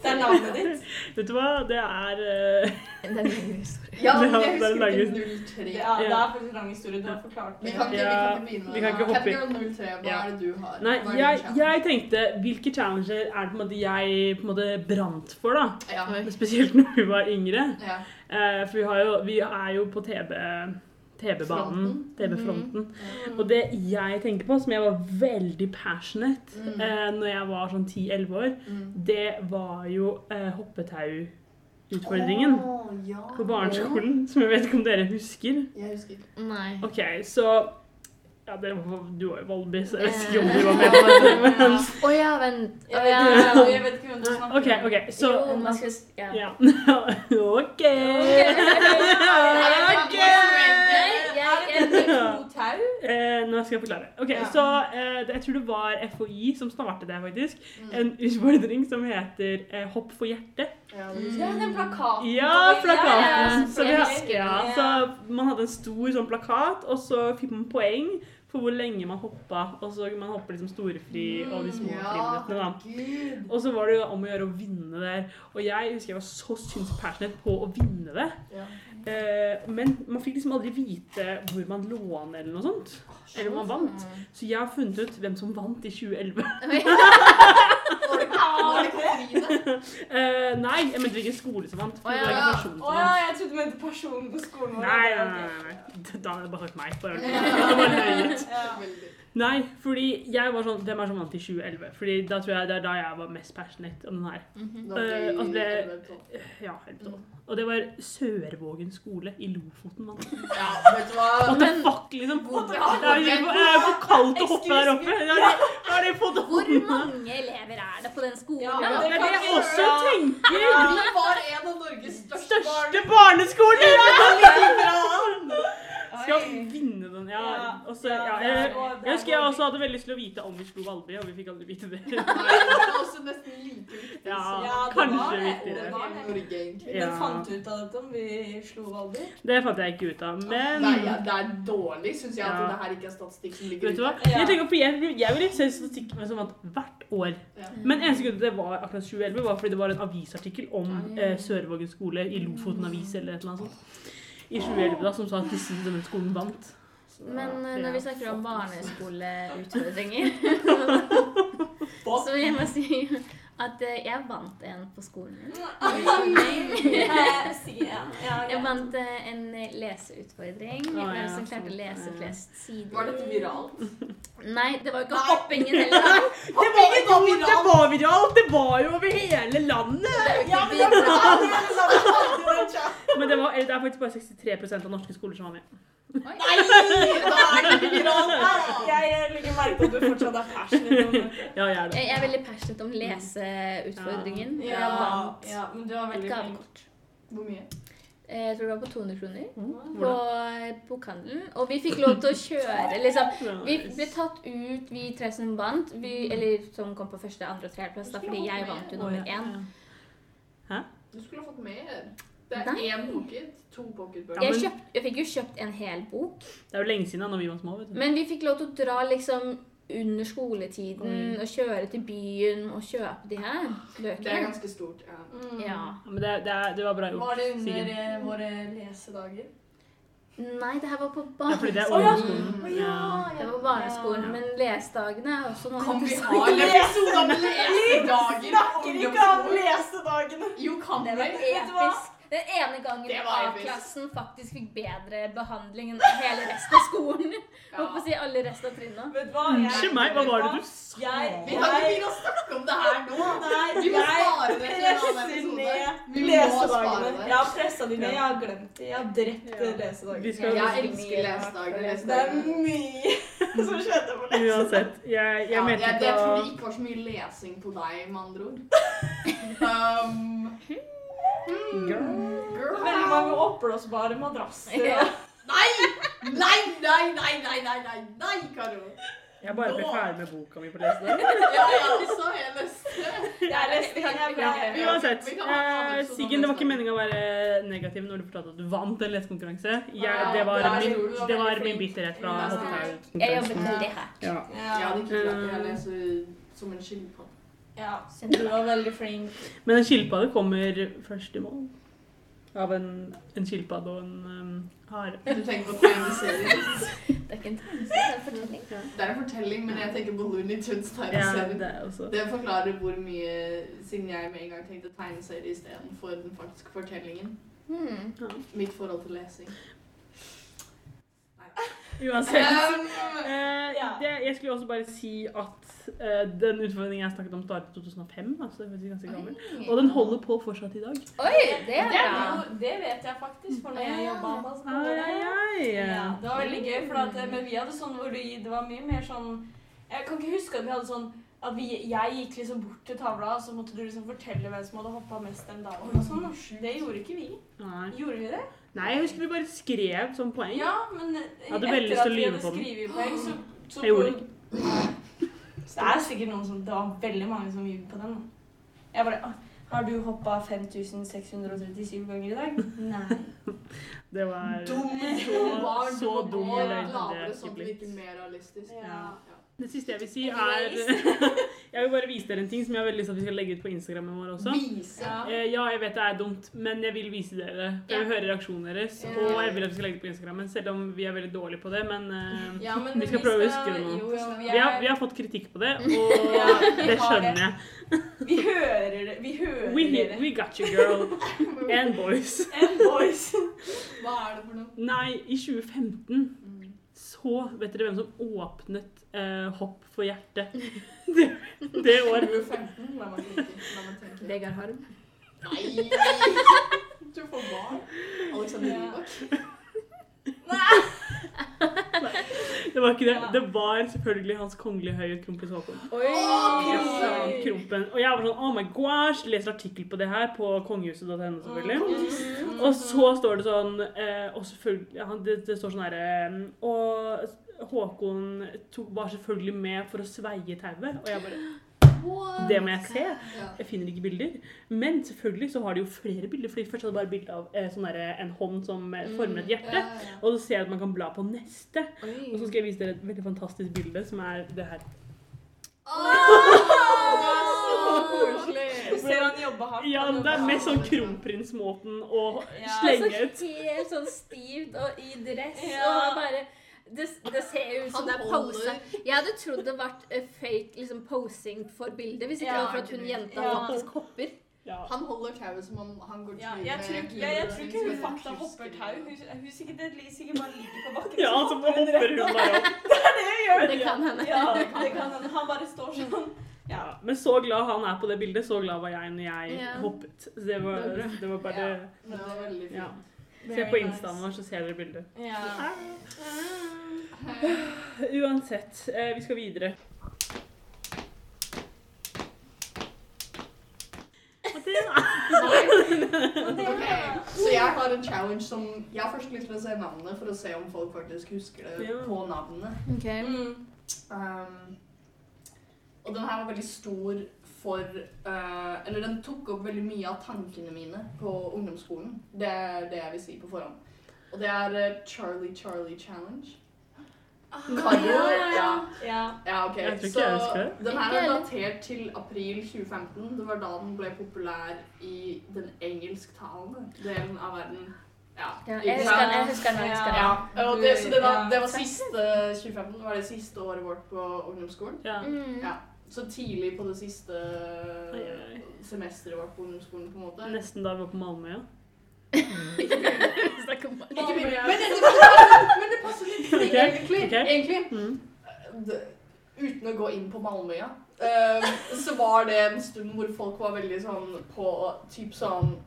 S3: Det er navnet [LAUGHS] ditt.
S1: [LAUGHS] Vet du hva, det er eh,
S4: Det er en lengre historie.
S2: Ja,
S1: Det
S2: men
S1: er
S2: jeg husker
S1: laget-
S2: ikke 03.
S3: Det er, det er faktisk en lang historie. Du har forklart
S2: Vi
S3: det.
S2: kan ikke,
S1: Ja,
S2: vi kan
S1: vi kan
S2: ikke begynne med
S1: ikke
S2: det.
S1: hoppe i-
S2: Catgirl 03, hva
S1: Ja.
S2: er det du har?
S1: Nei,
S2: Hva er din
S1: jeg,
S2: challenge?
S1: jeg tenkte hvilke challenger er det på en måte jeg på en måte brant for, da?
S2: Ja.
S1: Spesielt når vi var yngre.
S2: ja.
S1: Eh, for vi, har jo, vi er jo på TV, TV-banen,
S2: Fronten.
S1: TV-fronten.
S3: Mm.
S1: Og det jeg tenker på, som jeg var veldig passionate
S2: Mm.
S1: eh, når jeg var sånn 10-11 år,
S2: Mm.
S1: det var jo eh, hoppetauutfordringen
S2: Å, ja.
S1: på barneskolen. Som jeg vet ikke om dere husker.
S2: Jeg husker ikke.
S4: Nei.
S1: OK, så ja, dere var, Du var jo Volby, så jeg vet ikke om du
S3: [LAUGHS]
S1: var med på det. Men,
S4: Å ja, vent. Å
S3: Jeg vet,
S4: ja.
S3: ikke- jeg vet ikke
S1: [LAUGHS]
S3: hvem du snakker
S1: OK, OK, så
S4: Jo, man skal s- ja.
S1: Ja. [LAUGHS] OK. OK.
S4: Jeg- jeg-
S3: Er det to tau?
S1: Eh, nå skal jeg forklare. Ok,
S3: Ja.
S1: så eh, det- Jeg tror det var FHI som startet det, faktisk.
S2: Mm.
S1: En utfordring som heter eh, 'Hopp for hjertet'.
S2: Ja,
S3: Ja, den plakaten.
S1: Ja, plakaten! altså.
S4: ja,
S1: så, vi
S4: jeg
S1: har,
S4: husker
S1: ja,
S3: det.
S1: så [LAUGHS] man hadde en stor sånn plakat, og så fikk man poeng for hvor lenge man hoppa. Og så man hopper liksom storefri og
S2: Mm,
S1: de små friminuttene, da. [LAUGHS]
S2: herregud.
S1: Og så var det jo om å gjøre å vinne der. Og jeg husker jeg var så sinnssykt passionate på å vinne det.
S2: Ja.
S1: Eh, men man fikk liksom aldri vite hvor man lå an, eller noe sånt. Eller om man vant. Så jeg har funnet ut hvem som vant i 2011.
S4: [LAUGHS]
S2: Var det Katrine?
S1: [LAUGHS] Eh, nei, jeg mente hvilken skole som vant. For
S4: Å, ja.
S1: det var ikke
S3: Å
S1: personen som vant.
S3: ja, jeg trodde du mente personen på skolen vår.
S1: Nei, nei, nei, nei. [LAUGHS] Da hadde jeg bare sagt meg. Bare.
S2: Ja.
S1: [LAUGHS] Det var løyet.
S3: Ja.
S2: Veldig.
S1: Nei, fordi jeg var sånn Hvem er som vant i 2011? Fordi da tror jeg det er da jeg var mest passionate om den her.
S4: Mhm.
S2: Da ble
S1: Eh, og ble-
S2: elleve, tolv.
S1: Ja, helt sånn. Og det var Sørvågen skole i Lofoten. Man.
S2: Ja, vet du
S1: [LAUGHS]
S2: hva?
S1: What the fuck, liksom?
S2: Hvor-
S1: Det er jo ikke- det er jo for kaldt å hoppe der oppe. Det er det- det er det på
S4: Hvor
S1: hånda.
S4: mange elever er det på den skolen?
S3: Ja,
S1: Det
S4: da?
S1: er det jeg også tenker.
S2: Vi var en av Norges største, barn.
S1: Største barneskoler! Skal
S3: Oi.
S1: vinne den, ja.
S3: Ja,
S1: Og så-
S3: ja,
S1: ja,
S3: det er
S1: jeg,
S3: bra, det er
S1: jeg husker jeg
S3: bra.
S1: også hadde veldig lyst til å vite om vi slo Valby, og vi fikk aldri vite det. [LAUGHS]
S2: Nei, det var også nesten like viktig
S1: Ja,
S2: som
S3: Ja, det var
S1: kanskje
S3: det.
S1: viktigere.
S3: Det var
S2: hele Norge, egentlig.
S1: Ja.
S3: Men fant du ut av dette om vi slo Valby?
S1: Det fant jeg ikke ut av, men
S2: Nei, ja, det er dårlig, syns jeg, at
S1: Ja.
S2: det her ikke er statistikk som ligger
S1: Vet du hva?
S2: ute.
S3: Ja.
S1: Jeg tenker på, jeg, jeg vil ikke se statistikk men som vant hvert år.
S2: Ja.
S3: Mm.
S1: Men eneste grunn til at det var akkurat 2011, var fordi det var en avisartikkel om eh, Sørvågen skole i Lofoten
S3: Mm.
S1: Avis eller et eller annet sånt. I 2011 da, som sa at disse, denne skolen vant. Så,
S4: Men eh,
S1: ja. altså.
S4: når vi snakker om
S1: [LAUGHS]
S4: barneskoleutfordringer, så vil jeg bare si at eh, jeg vant en på skolen min.
S3: Eh, si ja. Ja,
S4: Jeg
S3: greit.
S4: vant eh, en leseutfordring.
S1: Å,
S4: Hvem
S1: ja,
S4: som klarte å
S1: sant.
S4: lese
S1: Ja.
S4: flest sider.
S2: Var dette viralt?
S4: Nei, det var jo ikke
S2: Nei.
S4: hoppingen heller. da.
S1: Det var, det, var, det var viralt! Det var jo over hele
S3: [LAUGHS]
S1: landet!
S3: Ja, men det er bra! det er bra.
S1: Men det, var, det er faktisk bare 63 av norske skoler som var med.
S2: Nei! Da er det ikke viralt! da.
S3: Jeg eh, legger merke til at du fortsatt er passionate om dette.
S1: Ja, jeg er det.
S4: Jeg jeg er veldig passionate om leseutfordringen. og Jeg
S3: Ja,
S4: vant
S3: ja, men du var
S4: et
S3: veldig flink.
S4: gavekort.
S2: Hvor mye?
S4: Eh, Jeg tror det var på 200 kroner. på eh,
S1: Hvordan?
S4: bokhandelen. Og vi fikk lov til å kjøre, liksom. Vi ble
S1: Nice.
S4: tatt ut, vi tre som vant. Vi,
S2: Mm.
S4: eller som kom på første, andre og tredjeplass, da, fordi jeg vant jo nummer én.
S2: [LAUGHS] Du skulle ha fått mer. Det er
S4: Nei.
S2: én pocket, to pocketbøker.
S4: Jeg, kjøpt, jeg fikk jo kjøpt en hel bok,
S1: Det er jo lenge siden da når vi var små. vet du.
S4: men vi fikk lov til å dra liksom under skoletiden og kjøre til byen og kjøpe de her
S2: Mm. Det er
S4: bøkene.
S2: ganske stort. ja.
S3: Mm.
S4: Ja.
S1: Ja, Men det, det, er- det var
S3: Var
S1: bra gjort.
S3: det under
S1: Sigrid.
S3: eh, våre lesedager?
S4: Nei, det her var på
S1: Ja, fordi det er
S3: Å, ja.
S1: ungdomsskolen.
S2: Å,
S1: Ja.
S4: Det var barneskolen, men lesedagene er også noe
S2: Kan vi
S4: interessant.
S2: ha en episode om lesedagen?
S3: Snakker ikke om lesedagene!
S2: Jo, kan
S4: Det var
S2: vi?
S3: du hva?
S4: episk. Den ene gangen
S2: Det var episk.
S4: A-klassen faktisk fikk bedre behandling enn hele resten av
S2: [LAUGHS]
S4: skolen. Jeg Holdt på å si alle resten av trinnet.
S3: Vet du hva?
S1: Unnskyld meg, hva var det du sa?
S3: Jeg-
S2: Vi kan ikke begynne å snakke om det her
S3: Nei,
S2: nå. Vi må spare det til en
S3: presser
S2: annen episode.
S3: ned
S2: Vi må spare
S3: lesedagene.
S2: det.
S3: Jeg har pressa de ned. Jeg har glemt de. Jeg har drept
S1: Ja. Vi
S3: lesedagene.
S1: skal-
S2: Jeg elsker lesedager.
S3: Det er
S2: lesedager.
S3: mye [LAUGHS] som skjedde på lesedagen.
S1: [LAUGHS] Uansett. Jeg, jeg
S2: Ja,
S1: mente
S2: jeg,
S1: ikke
S2: jeg tror
S1: å
S2: det ikke var så mye lesing på deg, med andre
S1: [LAUGHS]
S2: ord. Um,
S1: Girl.
S3: Veldig mange oppblåsbare madrasser.
S4: Ja.
S2: Nei! Nei, nei, nei, nei, nei, nei, nei, Karo!
S1: Jeg bare ble ferdig med boka mi på lesning.
S2: [LAUGHS] Ja, ja, så er jeg neste.
S3: Det er nesten helt
S1: Ja,
S3: bra.
S1: uansett.
S2: Vi kan ha en annen
S1: eh,
S2: episode om
S1: Siggen, det var ikke
S2: lesning.
S1: meninga å være negativ når du fortalte at du vant en lesekonkurranse. Jeg,
S3: Wow,
S1: det, var
S2: der
S1: min,
S2: tror du var
S1: det var
S3: veldig
S1: min
S3: flink.
S1: bitterhet fra
S2: Ja.
S4: Jeg
S1: hoppetauet.
S4: jobbet veldig hardt.
S1: Ja.
S2: Jeg
S3: Ja,
S2: hadde ikke klart det. Jeg leser som en skilpadde.
S3: ja. Du var veldig flink.
S1: Men en skilpadde kommer først i mål. Av en, en skilpadde og en um, hare.
S2: Du tenker på tegneserier.
S4: Det er ikke en tegneserie, det er en fortelling.
S2: Det er en fortelling, men jeg tenker på Looney Tunes
S1: Ja,
S2: tegneserie.
S1: det er også.
S2: Det forklarer hvor mye Siden jeg med en gang tenkte tegneserie istedenfor den faktiske fortellingen.
S4: Hmm.
S1: Ja.
S2: Mitt forhold til lesing.
S1: Uansett.
S2: Um,
S1: Eh,
S3: Ja.
S1: det, jeg skulle også bare si at eh, den utfordringen jeg snakket om, startet i 2005. Altså, det er ganske gammel. Og den holder på fortsatt i dag.
S4: Oi, det er
S3: Det, er
S4: bra.
S3: jo- det vet jeg faktisk, for når jeg
S4: Ja.
S3: jobba på
S1: Ai,
S3: skolen
S1: ai, ai.
S3: Ja, det var veldig gøy, for at, men vi hadde sånn hvor vi, det var mye mer sånn Jeg kan ikke huske at vi hadde sånn at vi, jeg gikk liksom bort til tavla, og så måtte du liksom fortelle hvem som hadde hoppa mest den dagen. Og sånn. Det gjorde ikke vi.
S1: Nei.
S3: Gjorde vi det?
S1: Nei, jeg husker vi bare skrev som poeng.
S3: Ja, men eh,
S1: hadde
S3: etter
S1: veldig lyst til
S3: at
S1: å
S3: vi
S1: lyve
S3: hadde
S1: på den.
S3: skrevet poeng, så, så
S1: Jeg gjorde
S3: Det er sikkert noen som Det var veldig mange som gjorde på den. da. Jeg bare «Ah, Har du hoppa 5637 ganger i dag?
S1: [LAUGHS]
S3: Nei.
S1: Det var
S2: dum,
S1: så, [LAUGHS]
S2: dum barn.
S1: så dum
S2: og
S1: løgn. Det
S2: Latere
S1: er
S2: sånn
S1: ikke
S2: at det
S1: blitt.
S2: virker mer realistisk.
S3: Ja.
S2: Ja.
S1: Det siste jeg vil si, er
S3: Anyways.
S1: [LAUGHS] Jeg vil bare vise dere en ting som jeg har veldig lyst til at vi skal legge ut på Instagrammen vår også.
S2: Vise.
S3: Ja.
S1: Eh, Ja, jeg vet det er dumt, men jeg vil vise dere. For jeg vil høre reaksjonen deres.
S2: Ja.
S1: Og jeg vil at vi skal legge det på Instagrammen, selv om vi er veldig dårlige på det. Men eh,
S3: Ja, men
S1: Vi skal prøve å huske det nå.
S3: Jo, jo, vi,
S1: vi, har,
S3: er,
S1: vi har fått kritikk på
S3: [LAUGHS]
S1: det,
S3: Ja,
S1: og
S3: vi
S1: det
S3: har
S1: skjønner jeg.
S3: vi hører det. Vi hører
S1: We,
S3: dere.
S1: we got you, girl. [LAUGHS] And boys.
S3: And boys.
S2: Hva er det for noe?
S1: Nei, i 2015
S3: Mm.
S1: så Vet dere hvem som åpnet eh, Hopp for hjertet? [LAUGHS] Det, det
S2: Du
S1: året.
S2: er 15, la meg tenke. La meg tenke.
S4: Vegard Harm.
S3: [LAUGHS]
S2: Nei! Du får barn. Alexander
S3: Ja.
S2: Rybak.
S1: Det var ikke det. Det var selvfølgelig Hans Kongelige Høyhet Kronprins Haakon.
S4: Oi!
S1: Kristian Krompen. Og jeg var sånn oh my gosh, leser artikkel på det her på kongehuset.no, selvfølgelig. Og så står det sånn eh, Og selvfølgelig ja, det, det står sånn herre Og Håkon tok, var selvfølgelig med for å sveie tauet. Og jeg bare Det må jeg se.
S2: Ja.
S1: Jeg finner ikke bilder. Men selvfølgelig så har de jo flere bilder. Fordi først hadde jeg bare bilde av eh, sånn derre- en hånd som eh, former et hjerte.
S2: ja.
S1: Og så ser jeg at man kan bla på neste. Og så
S4: Oi.
S1: skal jeg vise dere et veldig fantastisk bilde, som er det her.
S2: Åh, det er så
S3: Du
S2: koselig!
S3: ser han jobber hardt.
S1: Ja,
S3: Han
S1: men det er
S3: jobber
S1: mest
S3: hardt.
S1: sånn kronpringsmåten å
S3: Ja.
S4: Altså,
S1: slenge ut.
S4: helt sånn stivt og i dress
S3: Ja.
S4: og bare det, det ser jo ut som
S2: Han
S4: det er
S2: holder.
S4: pose. Jeg hadde trodd det var eh, fake liksom, posing for bildet, hvis ikke
S3: Ja.
S4: det var for at hun jenta
S3: Ja.
S4: faktisk hopper.
S1: Ja.
S2: Han holder tauet som om han går tur
S3: Ja, jeg tror ikke, ja, jeg tror ikke hun fakta hopper tau. Hun, hun sikkert det li- sikkert bare ligger på bakken.
S1: [LAUGHS] Ja,
S3: så
S1: altså,
S3: hopper hun
S1: hopper
S3: rett
S1: hun
S3: opp.
S1: bare opp.
S3: Det gjør
S4: Det
S3: det.
S4: kan hende.
S3: [LAUGHS] Ja, det kan hende. Han bare står sånn. Ja.
S1: Ja, men så glad han er på det bildet, så glad var jeg når jeg
S4: Ja.
S1: hoppet. Så det var,
S4: Det var bra.
S1: det var bare
S3: Ja.
S2: Det var veldig fint.
S1: ja. [LAUGHS] Se
S3: Very
S1: på
S3: nice.
S1: instaen vår, så ser dere bildet. [LAUGHS]
S3: Ja.
S1: Uansett, eh, vi skal videre. Og det er-
S3: Og det
S2: Ok,
S3: er
S2: [LAUGHS] Så jeg har en challenge som Jeg har først lyst til å se navnet for å se om folk faktisk husker det
S1: Ja.
S2: på navnet.
S3: Mm.
S2: Um, og den her var veldig stor for eh, Eller den tok opp veldig mye av tankene mine på ungdomsskolen. Det er det jeg vil si på forhånd. Og det er eh, Charlie Charlie Challenge. Karo, Ah, ja.
S3: Ja.
S2: Ja, ok.
S1: Jeg tror ikke
S2: så
S1: jeg husker det.
S2: Den her
S4: Ikke
S2: er
S4: heller.
S2: datert til april 2015. Det var da den ble populær i den engelsktalende delen av verden. Ja,
S4: Ja,
S2: ikke
S4: jeg
S2: sant?
S4: husker den, jeg husker den. Jeg husker
S2: Ja,
S4: den.
S2: og det, så det var,
S3: Ja.
S2: det var siste 2015, det var det siste året vårt på ungdomsskolen.
S1: ja.
S4: Mm.
S2: Ja. Så tidlig på det siste
S1: Oi, oi, oi.
S2: semesteret vårt på ungdomsskolen, på en måte.
S1: Nesten da vi var på Malmøya. Ja.
S4: Snakk om
S2: Ikke
S3: Malmö.
S2: mye. Men, det passer- men det passer litt til,
S1: Ok,
S2: egentlig.
S1: ok.
S2: egentlig.
S1: Mm.
S2: det- Uten å gå inn på Malmøya, eh, så var det en stund hvor folk var veldig sånn på typ sånn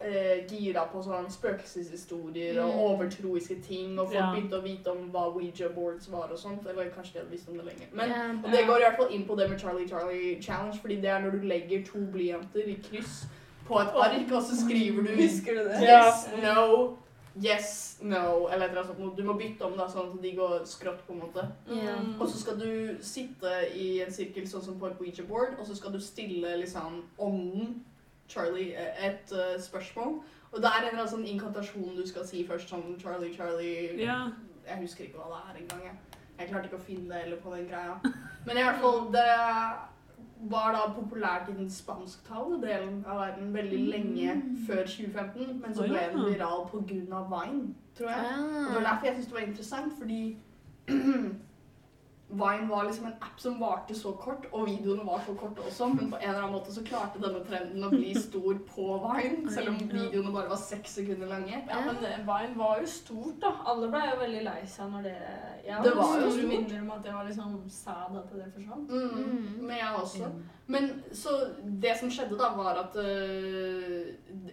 S2: eh, Gira på sånn spøkelseshistorier og
S4: Mm.
S2: overtroiske ting, og folk
S1: Ja.
S2: begynte å vite om hva Ouija boards var og sånt. Eller kanskje de hadde visst om det lenge. Men
S4: Ja.
S2: og det går i hvert fall inn på det med Charlie Charlie Challenge, fordi det er når du legger to blyanter i kryss på et ark, og så skriver du
S3: [LAUGHS] Husker du det?
S1: Ja.
S2: Yes, no, yes, no, eller et eller annet sånt. noe. Du må bytte om da, sånn at de går skrått på en måte.
S4: Ja.
S3: Mm.
S2: Og så skal du sitte i en sirkel sånn som på et Ouija board, og så skal du stille liksom ånden, Charlie, et eh, spørsmål. Og det er en eller annen sånn inkantasjon du skal si først, sånn Charlie, Charlie
S1: Ja.
S2: Jeg husker ikke hva det er engang, jeg. Jeg klarte ikke å finne det eller på den greia. Men i hvert fall, det var da populært i den spansktalende delen av verden veldig lenge før 2015, men så
S1: Å,
S2: ble
S1: ja.
S2: den viral på grunn av Vine, tror jeg. Og det var
S4: Ah.
S2: derfor jeg syntes det var interessant, fordi [CLEARS THROAT] Vine var liksom en app som varte så kort, og videoene var så korte også, men på en eller annen måte så klarte denne trenden å bli stor på Vine, selv om videoene bare var seks sekunder lange.
S3: Ja, men det,
S2: eh,
S3: Vine var jo stort, da. Alle ble jo veldig lei seg når det Jeg
S2: Det
S4: var jo
S3: store
S2: stort.
S3: minner om at det var liksom sad at det forsvant.
S2: Mm,
S4: Mm.
S2: men jeg også. Men så det som skjedde da, var at øh,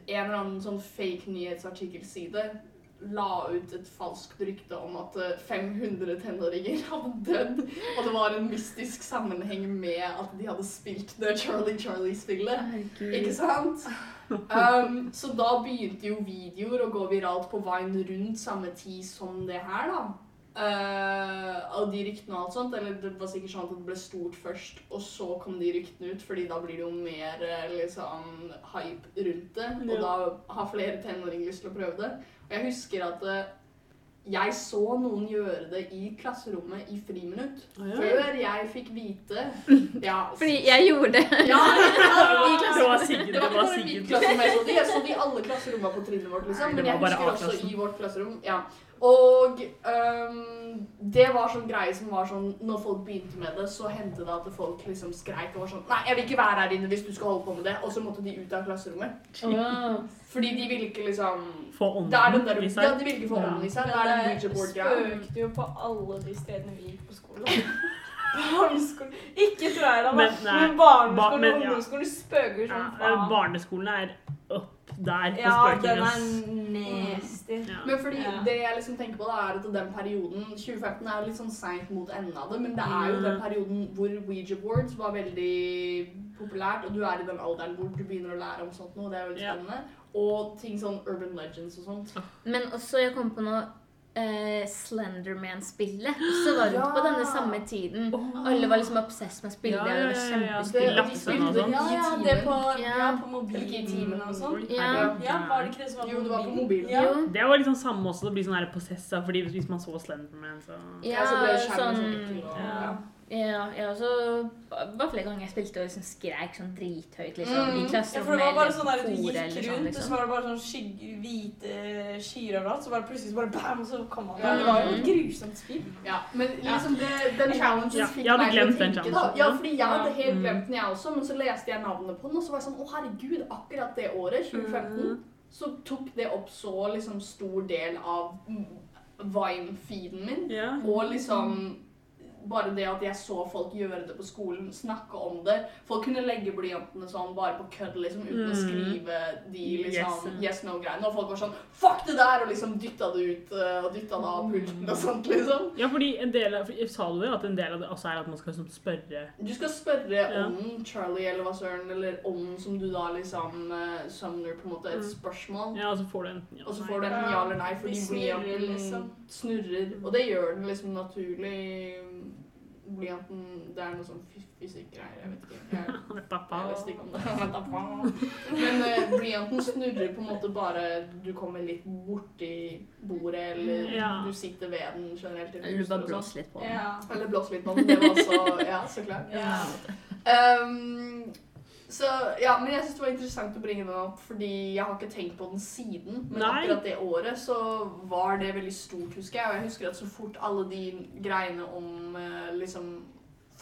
S2: en eller annen sånn fake nyhetsartikkelside la ut et falskt rykte om at øh, 500 tenåringer [LAUGHS] hadde dødd, og det var en mystisk sammenheng med at de hadde spilt det Charlie Charlie-spillet. Ikke sant? Um, så da begynte jo videoer å gå viralt på Vine rundt samme tid som det her, da. Eh, og de ryktene og alt sånt. Eller det var sikkert sånn at det ble stort først, og så kom de ryktene ut, fordi da blir det jo mer eh, liksom hype rundt det. Og
S1: Ja.
S2: da har flere tenåringer lyst til å prøve det. Og jeg husker at eh, jeg så noen gjøre det i klasserommet i friminutt.
S1: Å, ja.
S2: Før jeg fikk
S1: [LAUGHS]
S2: vite ja, altså.
S4: Fordi jeg gjorde det.
S2: ja,
S1: Det var Siggen.
S2: [LAUGHS] det var
S1: Det var
S2: ikke bare mitt
S1: Siggen.
S2: klasserom. Jeg så de, jeg så de i alle klasserommene på trinnet vårt, liksom.
S1: Nei, det
S2: Men jeg
S1: var bare
S2: husker også
S1: A-klassen.
S2: i vårt klasserom. Ja. Og øhm, det var sånn greie som var sånn Når folk begynte med det, så hendte det at folk liksom skreik og var sånn Nei, jeg vil ikke være her inne hvis du skal holde på med det. Og så måtte de ut av klasserommet. Fordi de ville ikke liksom
S1: Få
S2: Det er den der,
S1: ånden i
S2: ja,
S1: seg.
S2: de ville ikke få
S1: Ja.
S2: ånden i seg. Det er den
S3: Men det
S2: Ouija board-greia.
S3: spøkte jo på alle de stedene vi gikk på skolen. [LAUGHS] Barneskolen Ikke Træla, da,
S1: Men, nei,
S3: men barneskolen
S1: ba- men,
S3: og
S1: ja.
S3: ungdomsskolen spøker
S1: Ja,
S3: som faen.
S1: barneskolen er opp der
S3: Sånn.
S1: på
S3: Ja, den
S1: spøking.
S3: er
S1: ass.
S3: nasty.
S1: Ja.
S2: Men fordi
S3: Ja.
S2: det jeg liksom tenker på da, er at den perioden 2015 er jo litt sånn seint mot enden av det, men det er jo den perioden hvor Ouija boards var veldig populært, og du er i den alderen hvor du begynner å lære om sånt noe, det er veldig
S1: Ja.
S2: spennende. Og ting sånn urban legends og sånt.
S4: Men også, jeg kom på noe eh, Slenderman-spillet. Så var rundt på
S2: Ja.
S4: denne samme tiden. Alle var liksom obsessed med å spille
S1: Ja,
S4: det.
S1: ja,
S4: og det var
S1: ja, ja.
S4: kjempespill.
S1: Det- Lappesønn og sånn.
S3: Ja, ja, det på,
S4: Ja.
S3: ja, på mobiltimene og sånn.
S4: Ja.
S3: Ja, var det ikke det som var på
S2: Jo, det var på mobilen.
S3: Ja.
S4: Jo.
S1: Det var liksom samme også, å bli sånn her possessa, fordi hvis man så Slenderman, så
S4: Ja,
S2: så ble jo skjermen
S4: sånn
S2: sånn ekkel og-
S1: ja.
S4: Ja, jeg også Det var flere ganger jeg spilte og liksom skreik sånn drithøyt liksom, i
S2: Mm.
S3: Ja, for det
S4: klasserommet
S3: var bare
S4: eller
S3: sånn der at du
S4: koret
S3: gikk
S4: eller sånn.
S3: rundt, og så
S4: Liksom.
S3: var det bare sånn skygge, hvite skyer overalt, så bare plutselig så bare bam, og så kom han.
S2: Ja.
S3: Det var jo et grusomt spill.
S2: Ja, men liksom det, den challengen
S1: Ja,
S2: fikk
S1: jeg hadde
S2: meg til å
S1: glemt den
S2: tenke da.
S1: challengen.
S2: Ja, fordi jeg hadde helt
S1: Mm.
S2: glemt den jeg også, men så leste jeg navnet på den, og så var jeg sånn, å herregud, akkurat det året, 2015,
S1: Mm.
S2: så tok det opp så liksom stor del av mm, Vine-feeden min.
S1: Ja.
S2: Og liksom bare det at jeg så folk gjøre det på skolen, snakke om det. Folk kunne legge blyantene sånn bare på kødd, liksom, uten å
S1: Mm.
S2: skrive de
S1: Yes.
S2: liksom yes no-greiene. Og folk var sånn fuck det der! Og liksom dytta det ut eh, og dytta det av pulten og sånt, liksom.
S1: Ja, fordi en del av, for- sa du jo at en del av det også er at man skal liksom spørre
S2: Du skal spørre
S1: Ja.
S2: om Charlie eller hva søren, eller om som du da liksom eh, sumner på en måte et
S1: Mm.
S2: spørsmål.
S1: Ja, og så får du enten ja
S2: Og så
S1: nei.
S2: får du enten ja eller nei,
S3: De
S2: fordi
S3: snurrer,
S2: blyanten
S3: liksom.
S2: snurrer. Og det gjør den liksom naturlig. Blyanten Det er noe sånn fy- fysikkgreier, jeg vet ikke. Jeg, jeg
S1: Pappa.
S2: visste ikke om det. [LAUGHS] Vent da, faen. Men eh, blyanten snurrer på en måte bare du kommer litt borti bordet, eller
S1: Ja.
S2: du sitter ved den generelt. i
S4: Eller du bare
S2: huset og sånt.
S4: blåste litt på den.
S3: Ja.
S2: sånn. Eller blåser litt på den. Det var også Ja, så klart.
S3: Ja.
S2: Ehm, så, ja, men jeg synes det var interessant å bringe den opp, fordi jeg har ikke tenkt på den siden. Men
S1: Nei.
S2: akkurat det året så var det veldig stort, husker jeg. Og jeg husker at så fort alle de greiene om eh, liksom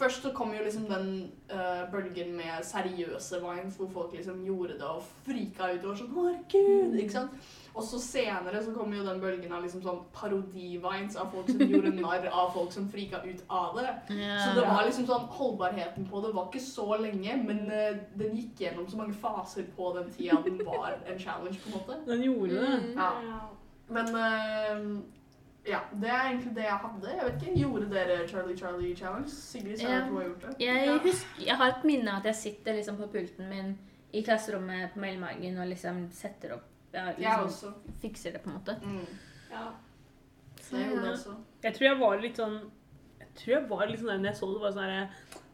S2: Først så kom jo liksom den eh, bølgen med seriøse vines, hvor folk liksom gjorde det og frika ut og var sånn Herregud! Ikke sant? Og så senere så kom jo den bølgen av liksom sånn parodi-vines av folk som gjorde narr av folk som frika ut av det. Så det var liksom sånn, holdbarheten på det var ikke så lenge, men eh, den gikk gjennom så mange faser på den tida den var en challenge, på en måte.
S1: Den gjorde det.
S4: Mm.
S2: Ja. Men eh, ja, det er egentlig det jeg hadde. Jeg vet ikke, Gjorde dere Charlie Charlie Challenge? Sigrid sa
S4: Ja.
S2: at hun har gjort det.
S4: Jeg, husker, jeg har et minne av at jeg sitter liksom på pulten min i klasserommet på Mellmagen og liksom setter opp jeg
S2: Jeg
S4: liksom
S2: også.
S4: fikser det, på en måte.
S2: Mm.
S3: Ja.
S2: Så jeg gjorde det også.
S1: Jeg tror jeg var litt sånn Jeg tror jeg var litt sånn der når jeg så det, bare sånn herre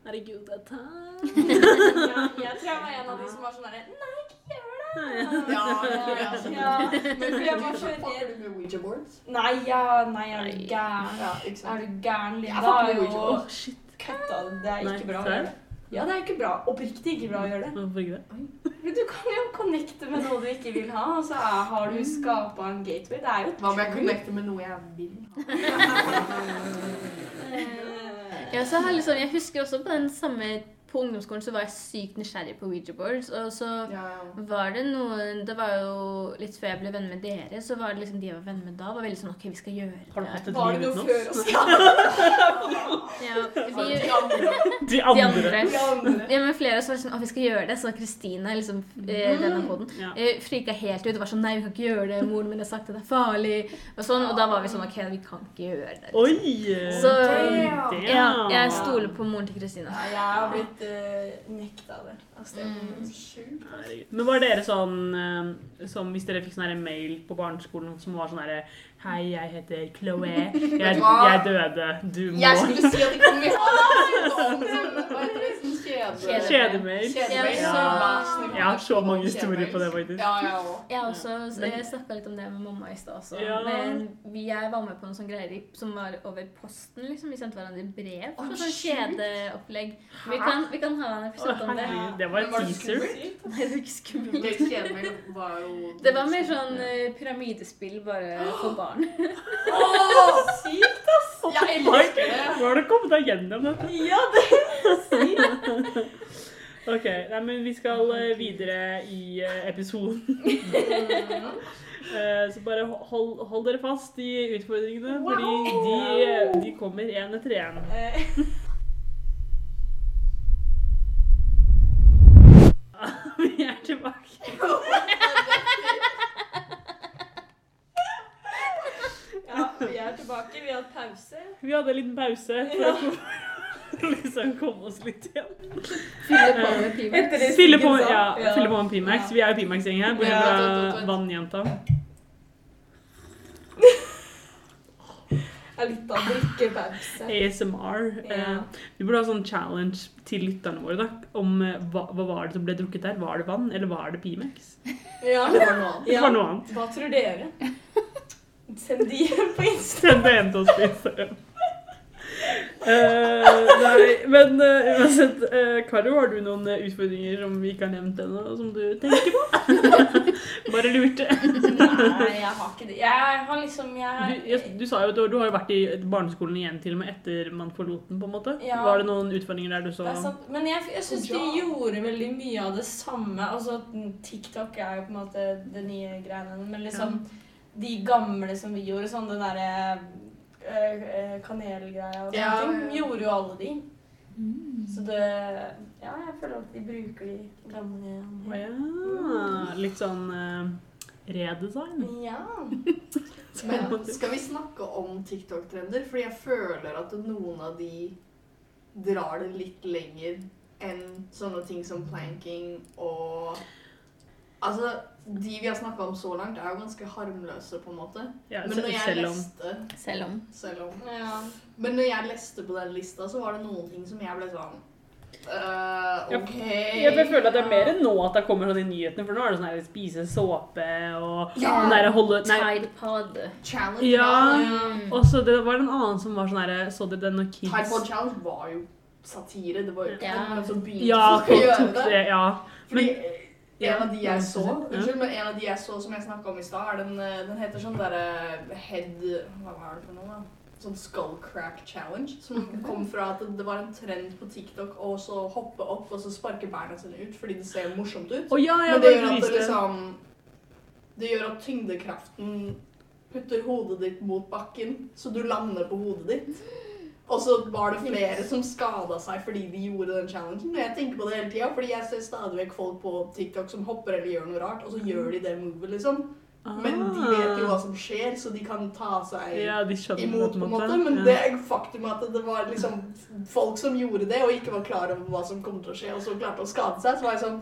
S1: Herregud, dette her
S3: Ja, jeg tror jeg var en av de som var sånn derre Nei, ikke gjør det!
S2: Ja, det tror jeg også.
S3: Ja,
S2: [LAUGHS] Men fordi jeg var så
S3: redd.
S2: Fucker du med Ouija boards?
S3: Nei, ja, nei, er du
S4: Nei.
S3: gæren?
S2: Ja, ikke
S3: Er
S2: sant.
S3: du gæren,
S2: Jeg
S3: Linda?
S2: fucker med
S3: er
S2: Ouija
S3: jo
S2: boards.
S1: Shit.
S3: kødda. Det er
S1: Nei,
S3: ikke bra å
S1: serr?
S3: gjøre det. Ja, det er ikke bra. Oppriktig ikke bra å gjøre det.
S1: Hvorfor ikke det?
S3: Men du kan jo connecte med noe du ikke vil ha, og så er- har du skapa en gateway. Det er jo
S2: Hva om jeg connecter med noe jeg vil ha?
S3: Eh,
S4: Ja, så jeg, har liksom, jeg husker også på den samme På ungdomsskolen så var jeg sykt nysgjerrig på Ouija boards. Og så
S2: Ja,
S4: var det noen Det var jo litt før jeg ble venn med dere, så var det liksom de jeg var venn med da, var veldig sånn OK, vi skal gjøre det.
S1: Har du hatt et
S3: Var det
S1: liv
S3: noe
S1: uten
S3: før
S1: oss?
S3: oss?
S4: Ja, vi,
S2: De andre.
S1: De
S4: de
S1: andre.
S4: andre.
S3: De andre.
S4: Ja, men flere av oss var sånn Å, vi skal gjøre det. Så Kristina, liksom, eh, denne poden,
S1: Ja.
S4: eh, frika helt ut. Det var sånn Nei, vi kan ikke gjøre det. Moren min har sagt at det er farlig. Og sånn, og da var vi sånn OK, vi kan ikke gjøre det.
S1: Oi!
S4: Så
S2: Damn.
S4: ja, jeg stoler på moren til Kristina.
S3: Ja, jeg har blitt uh, nekta det. Altså, det er
S4: Mm.
S3: sjukt. altså.
S1: Herregud. Men var dere sånn eh, som hvis dere fikk sånn her mail på barneskolen som var sånn herre Hei, jeg heter Chloé. Jeg, jeg døde. Du må
S2: Jeg skulle si at det kom i Hva heter det? Sånn kjede...
S4: Kjede-
S1: Kjedemail.
S2: Kjedemail.
S4: Ja.
S2: Ja.
S1: Jeg har så mange historier på det, faktisk.
S2: Ja, jeg òg.
S4: Jeg har også eh, snakka litt om det med mamma i stad også.
S1: Ja.
S4: Men vi, jeg var med på noen sånne greier i- som var over posten, liksom. Vi sendte hverandre brev.
S2: Å,
S4: Og sånn
S2: sjukt.
S4: kjedeopplegg. Vi kan, vi kan ha en
S1: Å,
S4: episode om det.
S1: herregud, det var en
S2: Men var det
S1: teaser.
S4: [LAUGHS] Nei, det er ikke skummelt.
S2: Det kjedemail var jo
S4: Det var mer sånn eh, pyramidespill bare for barn. eh,
S3: Åh, sykt, ass!
S2: Jeg
S1: Fuck!
S2: elsker det!
S1: Hvordan kom du deg gjennom dette?
S3: Ja, det er sykt.
S1: Ok, nei, men vi skal eh, videre i eh,
S2: [LAUGHS]
S1: episoden. Eh, Så bare ho- hold, hold dere fast i utfordringene, fordi de, eh, de kommer én etter én.
S3: Eh,
S1: [LAUGHS] Vi er tilbake.
S3: ja, vi er tilbake. Vi har hatt pause.
S1: Vi hadde en liten pause for å for å [LAUGHS] liksom komme oss litt igjen.
S4: Fylle på med pimer. [LAUGHS]
S1: Fylle på,
S3: Ikke sant?
S1: ja, fylle på med Pimax. Vi er jo Pimax-gjeng her, bortsett fra vannjenta.
S3: Det er litt av drikkepause.
S1: ASMR. Eh,
S3: Ja.
S1: Vi burde ha sånn challenge til lytterne våre da, om eh, hva, hva var det som ble drukket der. Var det vann, eller var det Pimax?
S3: Ja.
S2: Det var noe annet.
S1: Det var noe annet.
S3: Hva tror dere? Send de på Insta.
S1: Send det hjem til oss på Instagram. [LAUGHS] Eh, nei, men eh, uansett, eh, Karo, har du noen eh, utfordringer som vi ikke har nevnt ennå, som du tenker på? [LAUGHS] Bare lurte.
S3: Nei, jeg har ikke det. Jeg har liksom
S1: Du,
S3: jeg,
S1: jeg, du sa jo at du, du har jo vært i barneskolen igjen til og med etter man forlot den, på en måte.
S3: Ja.
S1: Var det noen utfordringer der du så
S3: det er sant. Men jeg, jeg syns de
S2: Ja.
S3: gjorde veldig mye av det samme. Altså, TikTok er jo på en måte det nye greiene. Men liksom de gamle som vi gjorde, sånn den derre øh, øh, kanelgreia og sånne
S2: Ja,
S3: ting,
S2: ja. Mm.
S3: gjorde jo alle de. Så det Ja, jeg føler at de bruker de gamle
S1: Å ja. Litt sånn eh, redesign.
S3: Ja.
S2: Men skal vi snakke om TikTok-trender? Fordi jeg føler at noen av de drar det litt lenger enn sånne ting som planking og Altså, de vi har snakka om så langt, er jo ganske harmløse, på en måte.
S1: [LAUGHS] Ja,
S2: Men
S1: se-
S2: når jeg
S1: selv om
S2: leste
S4: Selv om.
S2: Selv om
S3: ja.
S2: Men når jeg leste på den lista, så var det noen ting som jeg ble sånn øh,
S1: Ja,
S2: OK.
S1: Ja, for jeg føler at det er mer enn nå at det kommer sånn i nyhetene, for nå er det sånn her spise såpe og
S2: Ja.
S1: den derre holde Nei.
S4: Tide pod.
S2: Challenge
S1: sånn Ja.
S2: var-
S1: Og så det var en annen som var sånn herre Så dere den når
S2: Tide Pod
S1: kids
S2: Challenge var jo satire. Det var jo ikke
S4: Ja.
S2: noen som begynte
S1: Ja,
S2: å
S1: folk
S2: gjøre
S1: tok det. Ja.
S2: Fordi
S1: Men-
S2: eh, en av de
S1: Ja.
S2: jeg så,
S1: Ja.
S2: unnskyld, men en av de jeg så som jeg snakka om i stad, er den, eh, den heter sånn derre head Hva var det for noe, da? Sånn skull crack challenge. Som kom fra at det var en trend på TikTok å så hoppe opp og så sparke beina sine ut fordi det ser morsomt ut.
S1: Å ja, ja,
S2: Men det gjør at det liksom Det gjør at tyngdekraften putter hodet ditt mot bakken, så du lander på hodet ditt. Og så var det flere som skada seg fordi de gjorde den challengen. Og jeg tenker på det hele tiden, fordi jeg ser stadig vekk folk på TikTok som hopper eller gjør noe rart, og så gjør de det movet, liksom.
S1: Ah.
S2: Men de vet jo hva som skjer, så de kan ta seg
S1: Ja, de skjønner
S2: imot, på en måte. Men det er faktum at det var liksom folk som gjorde det, og ikke var klar over hva som kom til å skje, og så klarte å skade seg, så var jeg sånn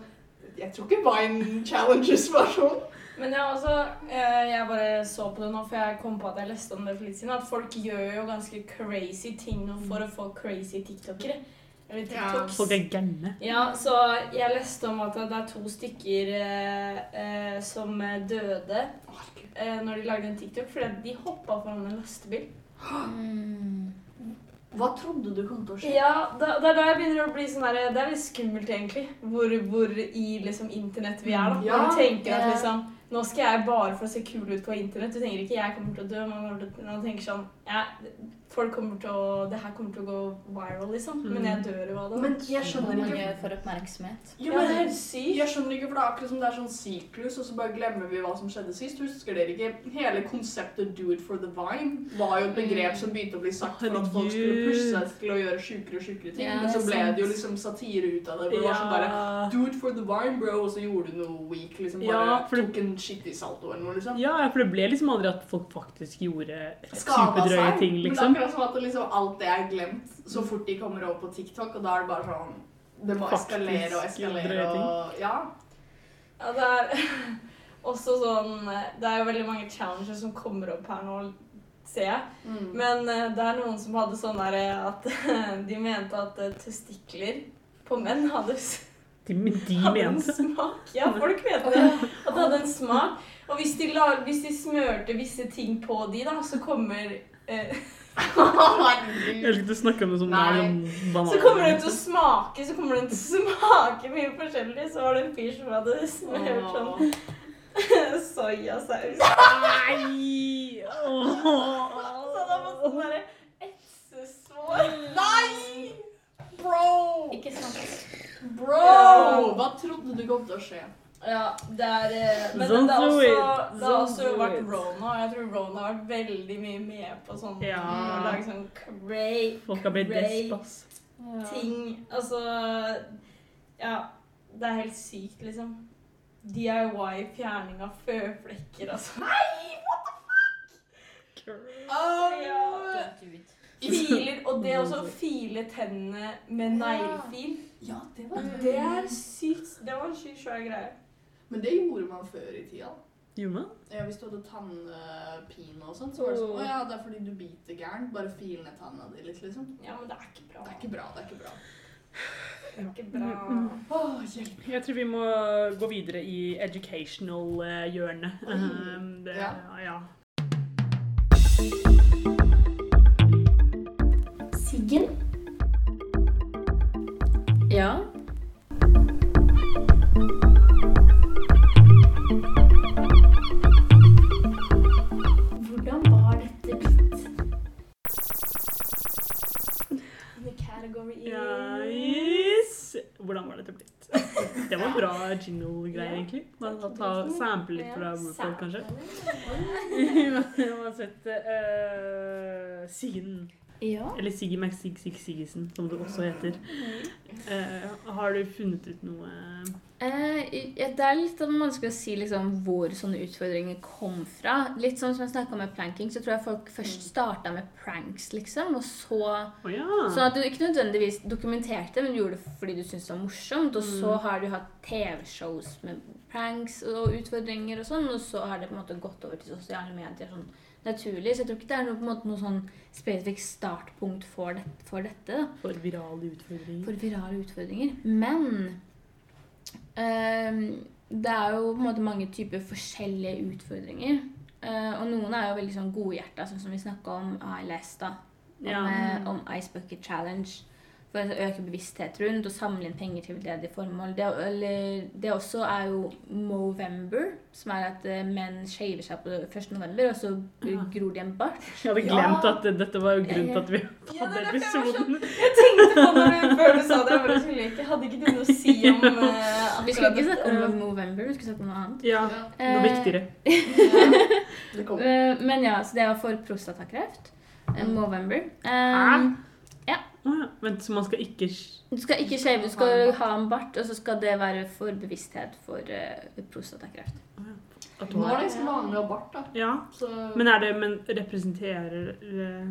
S2: Jeg tror ikke Vine Challenges var sånn.
S3: Men jeg, også, eh, jeg bare så på det nå, for jeg kom på at jeg leste om det for litt siden. At folk gjør jo ganske crazy ting nå for å få crazy tiktokere. Eller
S2: Ja.
S3: tiktoks.
S1: Folk er gærne.
S3: Ja, så jeg leste om at det er to stykker eh, eh, som døde eh, når de lagde en TikTok, fordi at de hoppa foran en lastebil.
S4: Mm.
S2: Hva trodde du kom til å skje?
S3: Ja, da, det er da jeg begynner å bli sånn der, Det er litt skummelt, egentlig. Hvor, hvor i liksom internett vi er, da.
S2: Ja,
S3: Når du tenker at
S4: ja.
S3: liksom Nå skal jeg bare for å se kul ut på internett. Du tenker ikke 'jeg kommer til å dø'. Man, kommer til, man tenker sånn ja, folk kommer til å, 'Det her kommer til å gå viral', liksom. Men jeg dør jo av det.
S2: Mm. Men jeg skjønner ikke.
S5: for oppmerksomhet.
S2: Jo,
S3: ja, det er
S2: men
S3: helt sykt.
S2: jeg skjønner ikke, for det er akkurat som det er sånn siklus, og så bare glemmer vi hva som skjedde sist. Husker dere ikke? Hele konseptet 'do it for the vine' var jo et begrep som begynte å bli sagt for at folk skulle pushe seg til å gjøre sjukere og sjukere ting.
S4: Ja,
S2: Men så
S4: det er
S2: ble
S4: sant.
S2: det jo liksom satire ut av det. hvor det var sånn bare Do it for the vine, bro, og så gjorde du noe weak. liksom Bare
S1: Ja, for det-
S2: tok en shit i salto eller noe, liksom.
S1: Ja, ja, for det ble liksom aldri at folk faktisk gjorde
S2: Skada
S1: superdrøye
S2: seg.
S1: ting,
S2: Men
S1: liksom.
S2: det er akkurat som at det liksom alt det er glemt så fort de kommer over på TikTok, og da er det bare sånn Det må
S1: Faktisk
S2: eskalere og eskalere
S1: drøye ting.
S2: og Ja.
S3: Ja, det er [LAUGHS] også sånn Det er jo veldig mange challenges som kommer opp her nå, ser jeg.
S2: Mm.
S3: Men eh, det er noen som hadde sånn der eh, at [LAUGHS] de mente at eh, testikler på menn hadde, s-
S1: De, men de
S3: hadde en
S1: mente
S3: smak. Ja, folk mente det. At det hadde en smak. Og hvis de, la, hvis de smørte visse ting på de, da, så kommer eh,
S1: Jeg
S2: [LAUGHS] Herregud.
S1: elsker å snakke om det som det er
S2: Nei.
S1: noen
S3: Så kommer den
S1: bananer.
S3: til å smake så kommer den til å smake mye forskjellig. Så var det en fyr som hadde smørt sånn [LAUGHS]
S2: Åh.
S3: soyasaus.
S1: Nei!
S3: Så da sånn måtte den derre etsesår. Nei!
S2: Bro!
S5: Ikke sant?
S2: Bro! Hva trodde du kom til å skje?
S3: Ja, det er eh, Men
S1: Don't
S3: det har
S1: do
S3: også,
S1: it.
S3: det har
S1: Don't
S3: også
S1: do
S3: vært
S1: it.
S3: Rona, og jeg tror Rona har vært veldig mye med på sånn
S1: Ja.
S3: å lage sånn cray
S1: Folk har blitt
S3: Great.
S1: despas.
S3: ting. Altså Ja, det er helt sykt, liksom. DIY fjerning av føflekker, altså. Nei! What the
S2: Oh,
S3: Ja. Filer, og det også å file tennene med neglefil.
S2: ja, det
S3: Mm.
S2: var det.
S3: Det er sykt. Det var en sykt svær greie.
S2: Men det gjorde man før i tida.
S1: Gjorde man?
S2: Ja, Hvis du hadde tannpine og sånt, så var det sånn Å ja, det er fordi du biter gærent. Bare fil ned tanna di litt, liksom.
S3: Ja, men det er ikke bra.
S2: Det er ikke bra, det er ikke bra.
S3: Det er ikke bra.
S1: Mm,
S2: Åh, hjelp.
S1: Jeg tror vi må gå videre i eh, educational-hjørnet.
S2: Oi.
S1: ja.
S2: Ja.
S1: Um, ja.
S4: Siggen? Ja. Hvordan var dette blitt?
S3: The category is
S1: Yes. Hvordan var dette blitt? [LAUGHS] Det var bra jingle-greier,
S3: Ja.
S1: egentlig. Man kan ta sample litt fra RuPaul, kanskje.
S3: kanskje?
S1: [LAUGHS] Man har sett eh, Siggen,
S4: Ja.
S1: eller Siggy Max Sig Sig Siggesen, som det også heter. Eh, har du funnet ut noe
S4: Eh, ja, det er litt sånn vanskelig å si liksom, hvor sånne utfordringer kom fra. Litt sånn som jeg snakka med planking, så tror jeg folk først starta med pranks, liksom. Og så
S1: Å ja.
S4: Sånn at du ikke nødvendigvis dokumenterte, men gjorde det fordi du syntes det var morsomt. Og så har du hatt TV-shows med pranks og utfordringer og sånn, og så har det på en måte gått over til sosiale medier sånn naturlig. Så jeg tror ikke det er noe, på en måte, noe sånn spesifikt startpunkt for, det, for dette, da.
S1: For virale utfordringer.
S4: For virale utfordringer. Men ehm, det er jo på en måte mange typer forskjellige utfordringer. Eh, og noen er jo veldig sånn godhjerta, sånn som vi snakka om ALS, da om,
S1: Ja.
S4: eh, om Ice Bucket Challenge. For å øke bevissthet rundt og samle inn penger til veldedige formål. Det, eller, det også er jo Movember, som er at eh, menn shaver seg på 1. november, og så eh,
S1: Ja.
S4: gror de en bart.
S1: Jeg hadde glemt at dette var jo grunnen til at vi
S3: Ja, det
S1: hadde
S3: er derfor jeg var
S1: episoden.
S3: Jeg tenkte på når du, før du sa det, jeg bare skulle ikke, hadde ikke du noe å si
S1: [LAUGHS]
S3: om eh, akkurat
S4: Vi skulle ikke
S3: dette?
S4: snakke om Movember, vi skulle snakke om noe annet.
S1: Ja,
S2: [LAUGHS] Ja,
S3: Eh,
S1: noe viktigere.
S2: ja. Det
S4: Eh,
S2: kom.
S4: [LAUGHS] eh, men ja, så det var for prostatakreft. Eh, Movember. Eh,
S1: Hæ?
S4: ja.
S1: Å ja. Vent, så man skal ikke sk-
S4: du skal ikke shave, du skal ha en bart, og så skal det være for bevissthet for eh, prostatakreft.
S1: at du
S2: Nå er
S1: har
S2: det ganske vanlig å ha bart, da.
S1: Ja.
S2: Så
S1: Men er det Men representerer eh,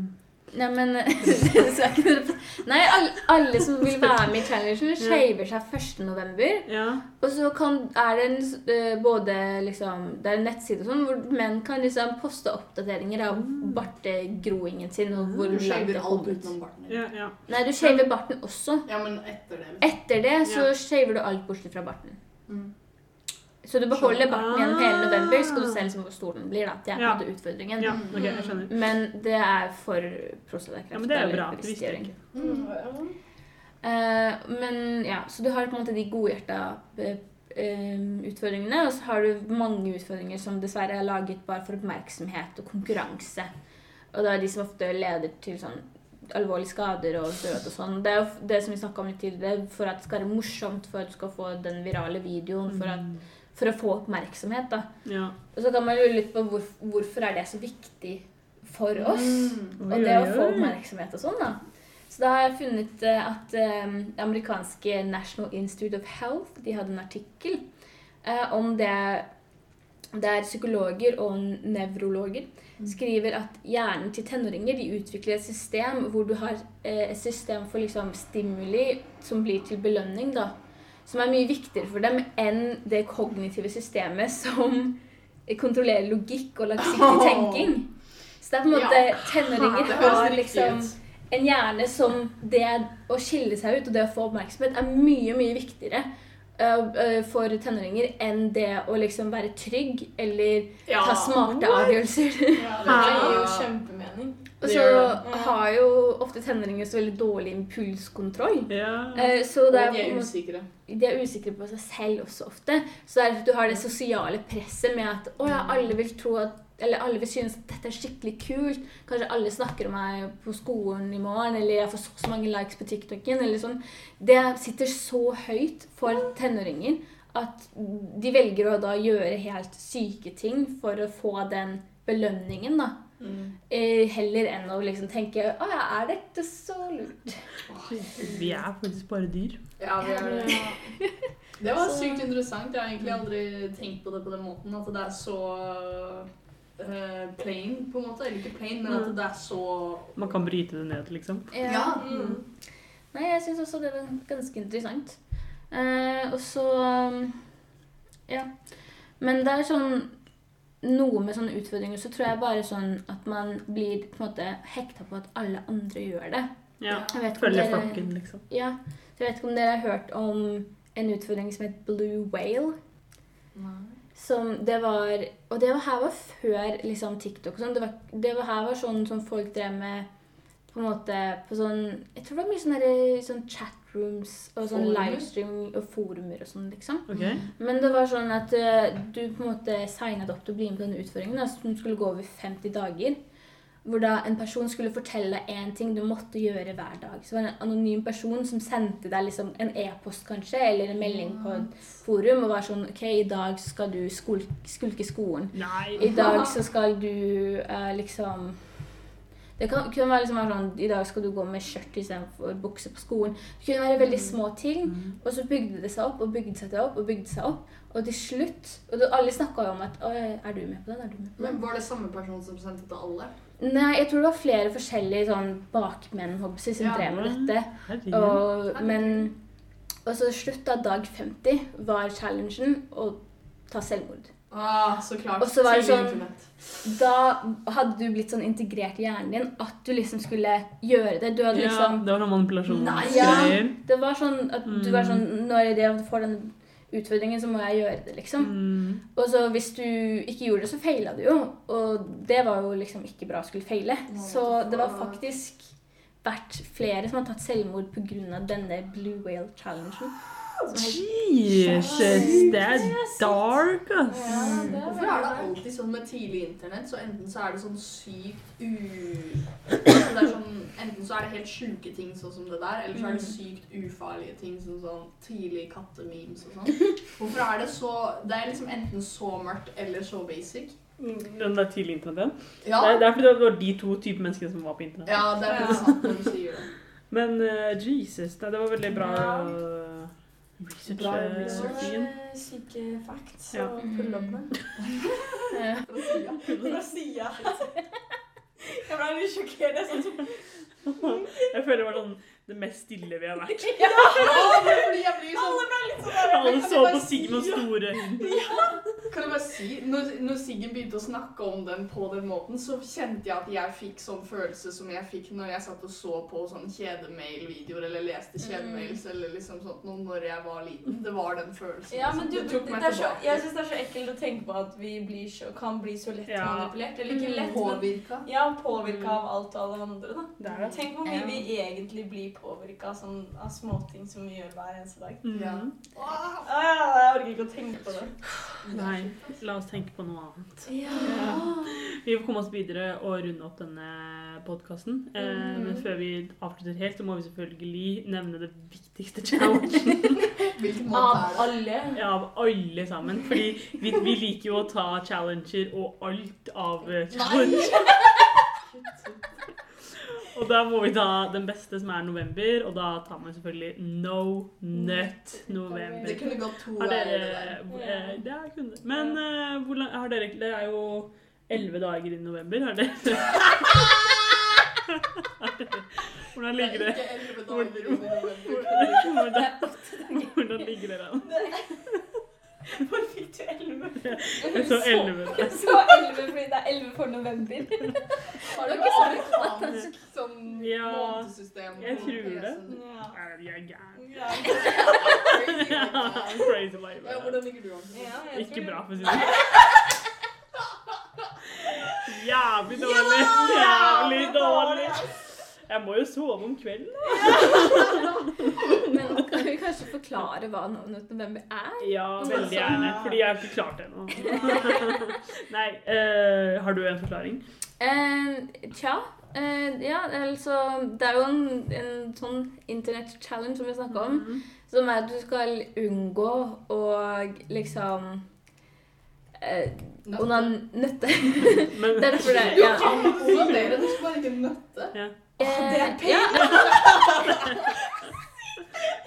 S4: Nei, men [LAUGHS] så er ikke det- Nei, alle, alle som vil være med i challengen, shaver seg 1. november.
S1: Ja.
S4: Og så kan, er det en, s- eh, både liksom, det er en nettside og sånn, hvor menn kan liksom poste oppdateringer av
S1: Mm.
S4: bartegroingen sin. og hvor
S2: Du
S4: langt det
S2: shaver
S4: har
S2: alt
S4: kommet.
S2: utenom barten din.
S1: ja, ja.
S4: Nei, du shaver barten også.
S2: Ja, men etter det. liksom.
S4: Etter det så
S1: Ja.
S4: shaver du alt bortsett fra barten.
S2: Mm.
S4: Så du beholder barten igjen hele
S1: Ah.
S4: november. Skal du se liksom hvor stor den blir, da. Det er på en
S1: Ja.
S4: måte utfordringen.
S1: ja ok, jeg skjønner.
S4: Men det er for prostatakreft.
S1: Ja, men det er jo
S4: eller
S1: bra at du visste det.
S4: bevisstgjøring.
S2: Mm.
S4: Eh, men ja, så du har på en måte de godhjerta eh, eh, utfordringene, og så har du mange utfordringer som dessverre er laget bare for oppmerksomhet og konkurranse. Og det er de som ofte leder til sånn alvorlige skader og død og sånn. Det er jo f- det som vi snakka om litt tidligere, for at det skal være morsomt, for at du skal få den virale videoen, for, at, for å få oppmerksomhet, da.
S1: Mm. Ja.
S4: Og så kan man lure litt på hvorf- hvorfor er det så viktig for oss?
S2: Mm.
S4: Og det å
S1: Oi,
S4: få
S1: oi, oi.
S4: oppmerksomhet og sånn, da. Så da har jeg funnet eh, at eh, det amerikanske National Institute of Health de hadde en artikkel eh, om det der psykologer og nevrologer
S1: Mm.
S4: skriver at hjernen til tenåringer de utvikler et system hvor du har eh, et system for liksom, stimuli som blir til belønning, da. Som er mye viktigere for dem enn det kognitive systemet som kontrollerer logikk
S1: [LAUGHS]
S4: og langsiktig
S2: Åh.
S4: tenking. Så det er på en måte tenåringer
S2: Det høres
S4: har
S2: riktig
S4: liksom
S2: ut.
S4: en hjerne som det å skille seg ut og det å få oppmerksomhet er mye, mye viktigere øh, øh, for tenåringer enn det å liksom være trygg eller
S2: Ja.
S4: ta smarte avgjørelser.
S3: Ja, det gir jo kjempemening.
S4: [LAUGHS] Og
S2: Det
S4: så
S2: gjør
S3: det.
S4: har jo ofte tenåringer så veldig dårlig impulskontroll.
S1: Ja.
S4: Eh,
S2: Mm.
S4: Så
S2: Og
S4: det
S2: de
S4: på en
S2: er
S4: måte-
S2: usikre.
S4: de er usikre på seg selv også ofte. Så det er at du har det sosiale presset med at å ja, alle vil tro at eller alle vil synes at dette er skikkelig kult. Kanskje alle snakker om meg på skolen i morgen, eller jeg får så, så mange likes på TikToken. eller sånn. Det sitter så høyt for tenåringer at de velger å da gjøre helt syke ting for å få den belønningen, da.
S2: Mm.
S4: Eh, Heller enn å liksom tenke Å ja, er dette så lurt?
S1: Vi er faktisk bare dyr.
S2: Ja, vi er det. Det var
S4: Så-
S2: sykt interessant. Jeg har egentlig aldri tenkt på det på den måten. At det er så eh, plain, på en måte. Eller ikke plain, men at
S4: Mm.
S2: det er så
S1: Man kan bryte det ned, liksom.
S2: Ja.
S4: Eh,
S3: Mm.
S4: Nei, jeg syns også det var ganske interessant. Eh, og så um, Ja. Men det er sånn Noe med sånne utfordringer så tror jeg bare sånn at man blir på en måte hekta på at alle andre gjør det.
S1: Ja.
S4: Jeg vet ikke om
S1: Følge
S4: dere-
S1: flokken, liksom.
S4: Ja. Jeg vet ikke om dere har hørt om en utfordring som het Blue Whale. Som det var Og det var her var før liksom, TikTok og sånn. Det, var, det var her var sånn som folk drev med på en måte på sånn Jeg tror det var mye sånn derre- sånn chatrooms og sånn
S2: Forumer?
S4: livestream og forumer og sånn, liksom.
S1: Ok.
S4: Men det var sånn at eh, du på en måte signet opp til å bli med på denne utfordringen, da, som skulle gå over 50 dager. Hvor da en person skulle fortelle deg én ting du måtte gjøre hver dag. Så det var det en anonym person som sendte deg liksom en e-post kanskje, eller en melding på et forum og var sånn OK, i dag skal du skul skulke skolen. I
S1: Nei.
S4: dag så skal du eh, liksom Det kan, kunne være liksom være sånn I dag skal du gå med skjørt istedenfor bukse på skolen. Det kunne være veldig små ting. Og så bygde det seg opp og bygde seg opp og bygde seg opp. Og til slutt Og det, alle snakka jo om at «Å, Er du med på den? Er du med på den?
S2: Men var det samme person som sendte til alle?
S4: Nei, jeg tror det var flere forskjellige sånn bakmenn hobbyer, som
S2: Ja.
S4: drev med dette.
S1: Herregud.
S4: Og, men Og så slutt av dag 50 var challengen å ta selvmord.
S2: Ah, så klart.
S4: Og så var det
S2: Tidlig
S4: sånn-
S2: internett.
S4: Da hadde du blitt sånn integrert i hjernen din at du liksom skulle gjøre det. Du hadde
S1: Ja,
S4: liksom
S1: det var noen
S4: Nei,
S1: manipulasjonsgreier.
S4: ja. Det var sånn at du var sånn Når jeg får den utfordringen, så må jeg gjøre det, liksom.
S1: Mm.
S4: Og så hvis du ikke gjorde det, så feila du jo. Og det var jo liksom ikke bra å skulle feile. Så det var faktisk vært flere som har tatt selvmord pga. denne Blue Whale [LAUGHS] Challengen.
S1: Jesus, det er dark, ass.
S3: Ja, det er
S2: Hvorfor
S3: veldig
S2: er det
S3: bra.
S2: alltid sånn med tidlig internett, så enten så er det sånn sykt u... Altså det er sånn, enten så er det helt sjuke ting, sånn som det der, eller så er det sykt ufarlige ting, som sånn tidlig kattememes og sånn. Hvorfor er det så Det er liksom enten så mørkt eller så basic.
S1: Den der tidlig internetten.
S2: Ja,
S1: Det, er- det er fordi det var de to typer mennesker som var på internett.
S2: ja det er
S3: Ja.
S2: litt sant når du sier det.
S1: Men eh, Jesus, det, det var veldig bra
S3: Ja.
S1: eh, research.
S2: Bra
S1: eh,
S3: Det
S2: research.
S3: var,
S1: Ian.
S3: eh, Syke facts
S1: Ja.
S3: å pulle opp med.
S4: Eh,
S2: For å si ja.
S3: Fra sida.
S4: Jeg
S3: Jeg ble litt sjokkert. Jeg satt
S1: [LAUGHS] Jeg føler det var sånn det mest stille vi har vært.
S2: fordi jeg blir sånn
S3: Alle ble litt sånn der.
S1: Alle så på Sigmund store.
S2: Kan jeg bare si, når, når Siggen begynte å snakke om den på den måten, så kjente jeg at jeg fikk sånn følelse som jeg fikk når jeg satt og så på sånn kjedemail-videoer, eller leste
S3: Mm.
S2: kjedemails, eller liksom sånt noe når jeg var liten. Det var den følelsen.
S3: Ja, men
S2: liksom.
S3: du,
S2: det
S3: det
S2: tok meg
S3: er så,
S2: tilbake.
S3: jeg syns det er så ekkelt å tenke på at vi blir så, kan bli så lett
S1: Ja. Mm.
S3: manipulert. Eller ikke lett, men
S2: Påvirka.
S3: ja, påvirka av alt og alle andre. da.
S1: Det er det.
S3: Tenk hvor
S4: Ja.
S3: mye vi egentlig blir påvirka av, sånn, av småting som vi gjør hver eneste dag.
S2: Ja.
S1: Mm.
S2: Wow.
S3: Ah, jeg orker ikke å tenke på det.
S1: Nei, la oss tenke på noe annet.
S4: Ja.
S1: Vi får komme oss videre og runde opp denne podkasten. Eh,
S2: Mm.
S1: men før vi avslutter helt, så må vi selvfølgelig nevne det viktigste
S2: [LAUGHS]
S1: challengen
S2: Hvilken måte
S4: Av
S2: er det?
S3: [LAUGHS]
S4: alle.
S1: av alle sammen. Fordi vi, vi liker jo å ta challenger og alt av eh, challenge. Og da må vi ta den beste, som er november, og da tar man selvfølgelig No Nut
S2: Det
S1: November.
S2: kunne gått to
S1: Har
S2: veier.
S1: dere
S2: det der.
S1: eh, Det er kun Men eh, hvor lang- har dere Det er jo elleve dager i november. Har
S2: [LAUGHS]
S1: dere Hvordan
S2: Det er
S1: ligger det?
S2: ikke elleve dager under november.
S1: Hvordan, hvordan [LAUGHS] ligger dere an?
S3: Hvor fikk du 11?
S1: [LAUGHS] Jeg så elleve.
S3: Så 11 fordi det er 11 for november.
S2: Har du ikke amerikansk [LAUGHS] sånn
S1: Ja,
S2: måtesystem?
S1: jeg
S2: på
S1: tror det.
S2: PC-en din?
S3: Ja.
S1: Er jeg gæren? [LAUGHS]
S2: Crazy,
S1: Ja,
S2: liksom.
S1: Crazy
S2: Ja,
S1: life.
S2: hvordan ligger du an?
S1: [LAUGHS]
S3: jeg
S1: Ikke
S3: tror-
S1: bra, for å si det sånn. Jævlig dårlig. Jævlig dårlig.
S3: altså.
S1: Jeg må jo sove om kvelden. da.
S4: Men kan vi kanskje forklare hva navnet november er?
S1: Ja, altså. veldig gjerne. Fordi jeg har ikke klart det ennå. [LAUGHS] Nei, eh, har du en forklaring?
S4: Eh, tja. Eh, ja, altså Det er jo en, en sånn internett-challenge som vi snakka om.
S3: Mm.
S4: Som er at du skal unngå å liksom eh, Onan...
S3: [LAUGHS]
S4: Nøtte.
S1: Men
S4: Det er derfor det
S2: Jo,
S4: ja.
S2: Hvordan ble det? Du skulle bare ikke nøtte.
S4: Eh,
S3: Det er
S4: ja,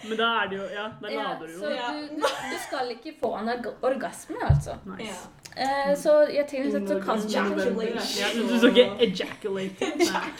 S1: Men da er det jo Ja, da
S4: ja,
S1: lader du
S4: så
S1: jo.
S3: Ja.
S4: du, du skal ikke få en orga- orgasme, altså.
S3: Ja.
S1: Nice.
S4: Eh, så jeg tenker at du kan
S1: Ja, du du skal ikke [LAUGHS] ejaculate.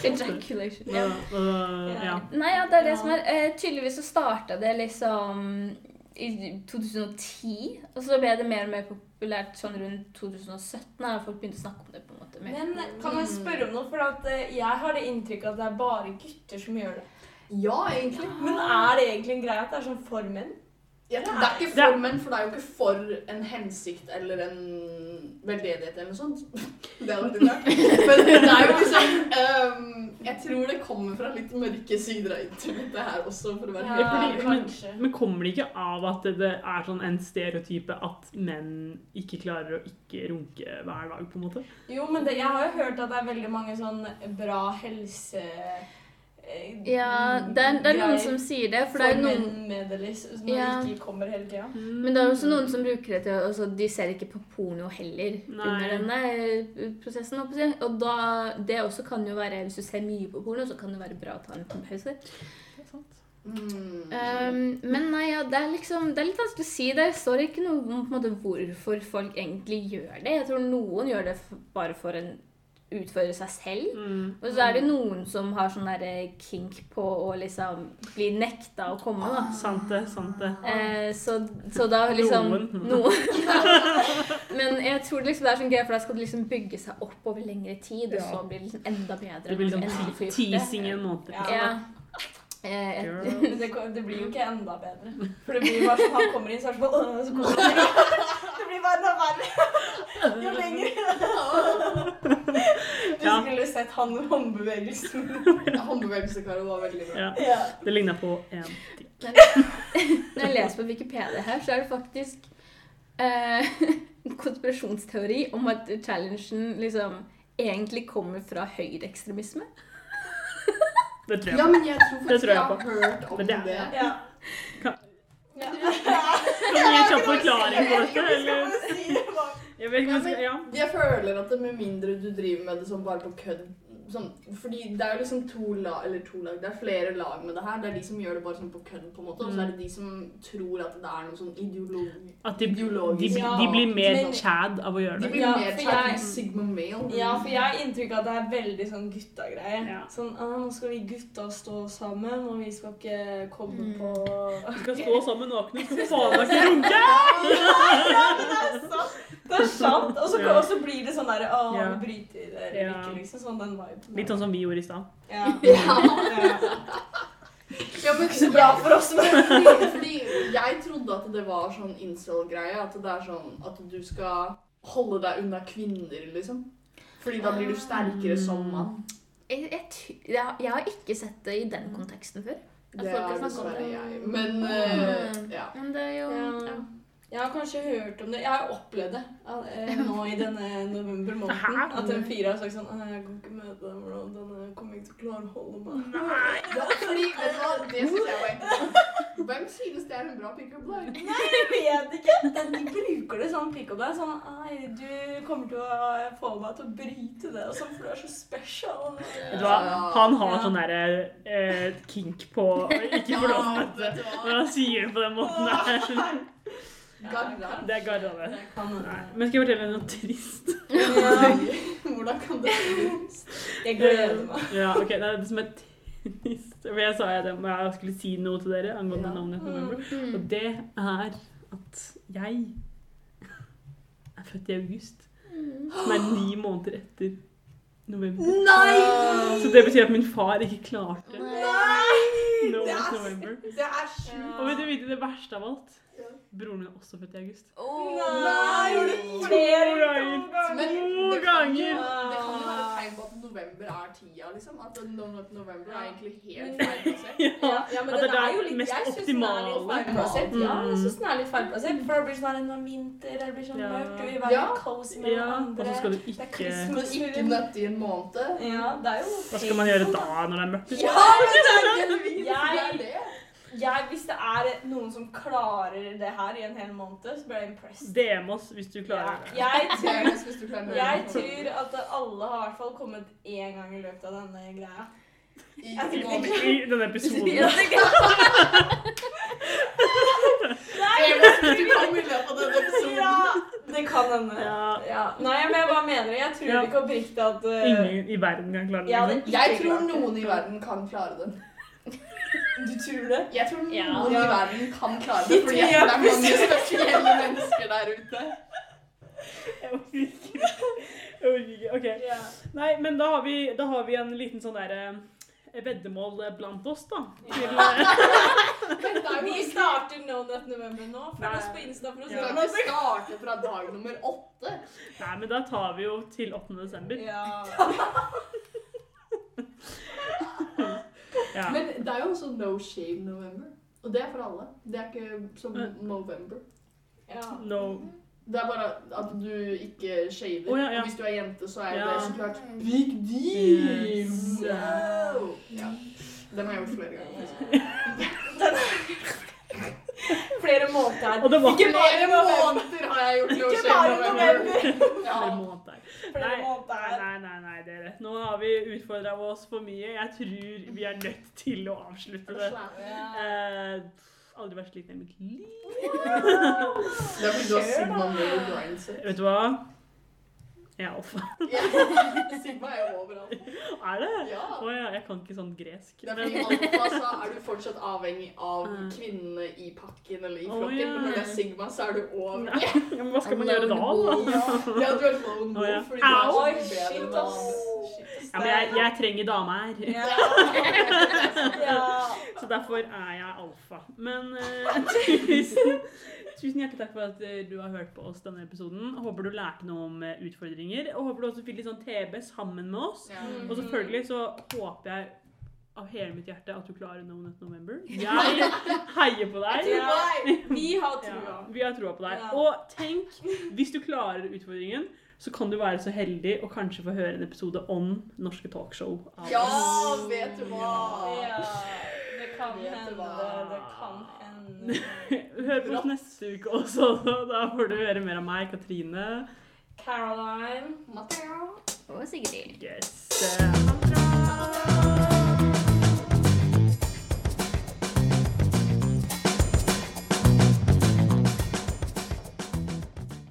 S4: Ejaculation.
S1: Nei.
S4: Ja.
S1: Og- og- Ja.
S4: Nei, ja, det er det
S3: Ja.
S4: som er. Eh, tydeligvis så starta det liksom i 2010, og så ble det mer og mer populært sånn rundt 2017. Da folk begynte å snakke om det. på en måte. mer.
S3: Men kan jeg spørre om noe? For at eh, jeg har det inntrykk at det er bare gutter som gjør det.
S2: Ja, egentlig.
S3: Men er det egentlig en greie at det er sånn for menn?
S2: Ja, det er ikke for menn, for det er jo ikke for en hensikt eller en veldedighet eller noe sånt. Det er litt rart. Men det er jo liksom ehm, Jeg tror det kommer fra litt mørke sider av internettet her også, for å være helt
S1: fordi-
S2: ærlig.
S1: men-
S3: kanskje.
S1: Men kommer det ikke av at det- det er sånn en stereotype at menn ikke klarer å ikke runke hver dag, på en måte?
S3: Jo, men det, jeg har jo hørt at det er veldig mange sånn bra helse... eh,
S4: Ja, det er, det er noen
S3: greier
S4: som sier det,
S3: for
S4: for det er jo noen
S3: menn med det, liksom, som
S4: Ja.
S3: ikke kommer hele tida.
S1: Mm.
S4: Men det er også noen som bruker det til altså, De ser ikke på porno heller under denne eh, prosessen. holdt på å si. Og da, det også kan jo være, Hvis du ser mye på porno, så kan det være bra å ta en liten pause. [LAUGHS]
S2: Mm.
S1: Ehm.
S4: Um, men nei, ja, det er liksom Det er litt vanskelig å si. Det står ikke noe om på en måte, hvorfor folk egentlig gjør det. Jeg tror noen gjør det f- bare for å utføre seg selv.
S1: Mm.
S4: Og så er det noen som har sånn der eh, kink på å liksom bli nekta å komme, da.
S1: Ah, Sant det, sant det.
S4: Eh, så, så da liksom
S1: Noen.
S4: [LAUGHS] Noen. Men jeg tror liksom det er sånn greie, for da skal det liksom bygge seg opp over lengre tid, og
S1: Ja.
S4: så blir det liksom enda bedre.
S1: Det blir
S4: når du
S1: sånn
S4: endelig får
S1: te-
S4: gjort det.
S1: teasing i en måned.
S3: Ja.
S4: Ja. Eh, jeg-
S1: Girl.
S3: Det, ko- det blir jo ikke enda bedre. For det blir bare sånn han kommer inn, så er det sånn «Åh», så kommer han inn. [LAUGHS] Det blir bare enda verre jo
S4: [LAUGHS]
S3: lenger. Du
S1: Ja.
S3: skulle sett han håndbevegelsen.
S2: Håndbevegelsekaret var veldig bra.
S1: Ja.
S3: Ja.
S1: Det ligna på en ting.
S4: Når jeg leser på Wikipedia her, så er det faktisk eh, [LAUGHS] en konspirasjonsteori om at challengen liksom egentlig kommer fra høyreekstremisme.
S1: Det tror jeg.
S2: Ja, men jeg tror
S1: Det
S2: faktisk
S1: tror jeg
S2: jeg har
S1: på.
S2: hørt om
S1: Men
S2: det.
S1: det er-
S3: Ja.
S1: Kan-
S3: Ja.
S1: Kan du gi en kjapp forklaring på dette,
S3: Jeg skal
S1: eller?
S3: bare si det var-
S1: Jeg vet ikke om jeg skal Ja.
S2: Jeg føler at det med mindre du driver med det sånn bare på kødd sånn, Fordi det er jo liksom to lag, eller to lag, det er flere lag med det her. Det er de som gjør det bare sånn på kødd, på en måte, og så er det de som tror at det er noe sånn ideologi
S1: At de, de,
S2: Ideologisk.
S1: de blir mer
S3: Men-
S1: chad av å gjøre
S2: De
S1: det.
S2: blir
S3: Ja,
S2: mer
S3: for
S2: chat
S3: jeg-
S2: Sigma male, jo.
S3: Ja, for jeg har inntrykk av at det er veldig sånn gutta-greie.
S1: Ja.
S3: Sånn, ah, nå skal vi gutta stå sammen, og vi skal ikke komme
S4: Mm.
S3: på
S1: Vi skal stå sammen nakne, vi skal faen meg ikke runke!
S3: Ja, men det er sant! Det er sant. Og så,
S1: Ja.
S3: og så blir det sånn derre Å,
S1: Ja.
S3: vi bryter eller
S1: Ja.
S3: ikke, liksom. Sånn den viben.
S1: Litt sånn som vi gjorde i stad.
S3: Ja.
S4: Ja.
S3: Ja.
S2: Ja, men
S3: Ikke så bra for oss, men
S2: fordi, [LAUGHS] fordi jeg trodde at det var sånn incel-greie. At det er sånn at du skal holde deg unna kvinner, liksom. Fordi da blir du sterkere som mann.
S4: Jeg, jeg, ty- jeg, har- jeg har ikke sett det i den konteksten før. At
S2: Det
S4: folk har
S2: er
S4: snakket om
S2: dessverre
S4: det.
S2: jeg. Men eh,
S4: Mm.
S2: ja.
S4: Men det er jo
S3: Ja.
S4: ja.
S3: Jeg har kanskje hørt om det. Jeg har opplevd det eh, nå i denne november måneden.
S1: Hæ?
S3: At en fire har sagt sånn «Nei, Jeg kan ikke møte deg, bro. Denne kommer ikke til å klare å holde meg.
S2: Ja, fordi, vet du hva, det synes jeg var interessant. Hvem synes det er en bra pick up line?
S3: Jeg vet ikke! De bruker det sånn pick up der. Sånn Nei, du kommer til å få meg til å bryte det. Og sånn, for du er så special.
S1: Vet du hva?
S2: Ja.
S1: Han har
S3: Ja.
S1: sånn derre eh, kink på Ikke for lov,
S2: Ja, vet du hva.
S1: når han sier det på den måten der.
S2: Garra.
S1: Det er garrane.
S3: Jeg kan
S1: Nei, Men skal jeg fortelle deg noe trist?
S3: ja, Hvordan kan det Jeg gleder meg.
S1: [LAUGHS] Ja, ok, det er det som er trist. [LAUGHS] For jeg sa jeg det, men jeg skulle si noe til dere angående
S2: Ja.
S1: navnet til November. Og
S4: Mm.
S1: det er at jeg er født i august,
S4: Mm.
S1: som er ni måneder etter november.
S2: Nei!
S1: Så det betyr at min far ikke
S3: Oh
S1: klarte
S2: Nei!
S1: No
S2: Det
S1: One's
S2: er-
S1: November.
S2: Det er sjukt.
S1: Og vil du vite det verste av alt?
S2: Ja.
S1: Broren min er også født i august.
S2: Nei, gjorde du
S3: Nei!
S1: flere
S2: Men
S1: ganger? To
S2: det kan jo-
S1: ganger.
S2: Det kan jo være et tegn på at november er tida, liksom. At no- no- november er egentlig helt feil plassert.
S1: Ja.
S3: Ja, men
S1: At det
S3: den
S1: er
S3: er jo litt,
S1: mest
S3: jeg syns den er litt
S1: optimale. liksom.
S3: feilplassert. Ja, jeg
S1: Mm.
S3: syns den er litt feilplassert. For det blir sånn her en vinter, det blir sånn
S1: Ja.
S3: mørkt, og vi var
S2: Ja.
S3: litt cozy med
S1: Ja, og
S3: hverandre.
S1: så skal du
S3: Det er
S1: ikke
S3: Christmas.
S2: Men ikke nøtte i en måned.
S3: Ja, det er jo
S1: Hva skal man gjøre da når det er mørkt?
S3: Ja,
S2: Det
S3: Jeg-
S2: er det.
S3: Jeg, hvis det er noen som klarer det her i en hel måned, så blir jeg impressed.
S1: DM oss hvis du klarer det.
S3: [LAUGHS] Ja, jeg
S2: Det er
S3: tror,
S2: det hvis du klarer
S3: jeg
S2: det.
S3: tror at alle har i hvert fall kommet én gang i løpet av denne [LAUGHS] greia.
S2: I
S3: Jeg tror
S2: måned.
S1: I denne
S3: [LAUGHS]
S1: episoden.
S4: Ja, det kan-
S2: Det er det hvis du kommer i løpet av denne episoden.
S3: Ja, det kan hende.
S1: Ja,
S3: Ja. Nei, men jeg bare mener det. Jeg tror
S1: Ja.
S3: ikke oppriktig at eh,
S1: ingen i verden kan klare det.
S3: jeg hadde
S1: liksom.
S3: ikke
S2: Jeg tror
S3: klart det.
S2: noen i verden kan klare [LAUGHS] det.
S3: Du tror det?
S2: Jeg tror
S4: Ja.
S2: noen i verden kan klare det,
S3: Hit
S2: fordi
S3: me
S2: jeg tror det
S3: up,
S2: er mange spesielle mennesker der ute.
S1: Jeg orker ikke. Jeg orker ikke. Ok.
S3: Ja.
S1: Nei, men da har vi, da har vi en liten sånn derre eh, veddemål eh, blant oss, da. Til, eh,
S2: Dette er jo
S3: Vi starter No Nut November nå. Følg
S1: Nei.
S3: oss på Insta for å se
S2: Vi kan
S3: hva
S2: ikke starte fra dag nummer åtte.
S1: nei, men da tar vi jo til 8. desember.
S3: Ja.
S1: Ja.
S2: Men det er jo også No Shave November. Og det er for alle. Det er ikke som November.
S3: ja.
S1: No.
S2: Det er bare at du ikke shaver.
S1: Å, ja, ja.
S2: Og Hvis du er jente, så er
S1: Ja.
S2: det så klart big deal!
S1: Yes.
S2: Wow! Ja. Den har jeg gjort flere ganger. faktisk.
S3: [LAUGHS] Flere måneder.
S1: Og det var-
S3: ikke bare
S2: Flere
S3: november.
S2: månder har jeg gjort No
S3: Ikke
S2: Shave
S3: bare
S2: November.
S3: november.
S2: Ja.
S1: Flere måneder.
S3: Flere
S1: Nei.
S3: måneder.
S1: Nei, nei, nei, dere. Nå har vi utfordra oss for mye. Jeg tror vi er nødt til å avslutte det.
S3: Ja.
S1: Eh, aldri vært sliten i mitt liv.
S2: Det er fordi du har
S3: Kjør,
S2: Sigma
S3: da.
S2: med i grindset.
S1: Vet du hva? Jeg er alfa.
S2: Sigma er jo overalt.
S1: [LAUGHS] Er det?
S2: Ja.
S1: Å ja, jeg kan ikke sånn gresk.
S2: Det er
S1: Men,
S2: fordi alfa så er du fortsatt avhengig av
S3: Ah.
S1: Mm.
S2: kvinnene i pakken eller i
S1: Å,
S2: flokken.
S1: ja.
S2: Men når det er sigma, så er du over.
S1: [LAUGHS] Nei. men hva skal man gjøre da, da?
S2: Ja, du er lone
S1: Å,
S2: wolf
S1: ja.
S2: fordi du er så
S3: Oi,
S2: mye bedre
S3: shit,
S2: enn
S3: ass.
S2: alle.
S3: Shit, ass.
S1: [LAUGHS] Ja, men jeg, jeg trenger dame her.
S3: Ja. [LAUGHS] Ja.
S1: [LAUGHS] Så derfor er jeg alfa. Men eh, [LAUGHS] tusen, tusen hjertelig takk for at eh, du har hørt på oss denne episoden. Håper du lærte noe om eh, utfordringer, og håper du også fikk litt sånn TB sammen med oss.
S2: Ja.
S3: Mm. [LAUGHS]
S1: Og selvfølgelig så håper jeg av hele mitt hjerte at du klarer No Nut November.
S2: [LAUGHS]
S1: Jeg heier på deg.
S3: Ja. Vi har trua.
S1: Ja, vi har troa på deg.
S3: Ja.
S1: Og tenk, hvis du klarer utfordringen, så kan du være så heldig og kanskje få høre en episode om norske talkshow. av
S2: Ja,
S1: oss.
S2: vet du hva!
S3: Ja. Det kan
S2: Vet du
S3: hende.
S2: hva?
S3: Det kan hende.
S1: [LAUGHS] Hør på oss neste uke også. så Da får du høre mer av meg, Katrine.
S3: Caroline.
S2: Mathea.
S4: Å, Sigrid.
S1: Yes.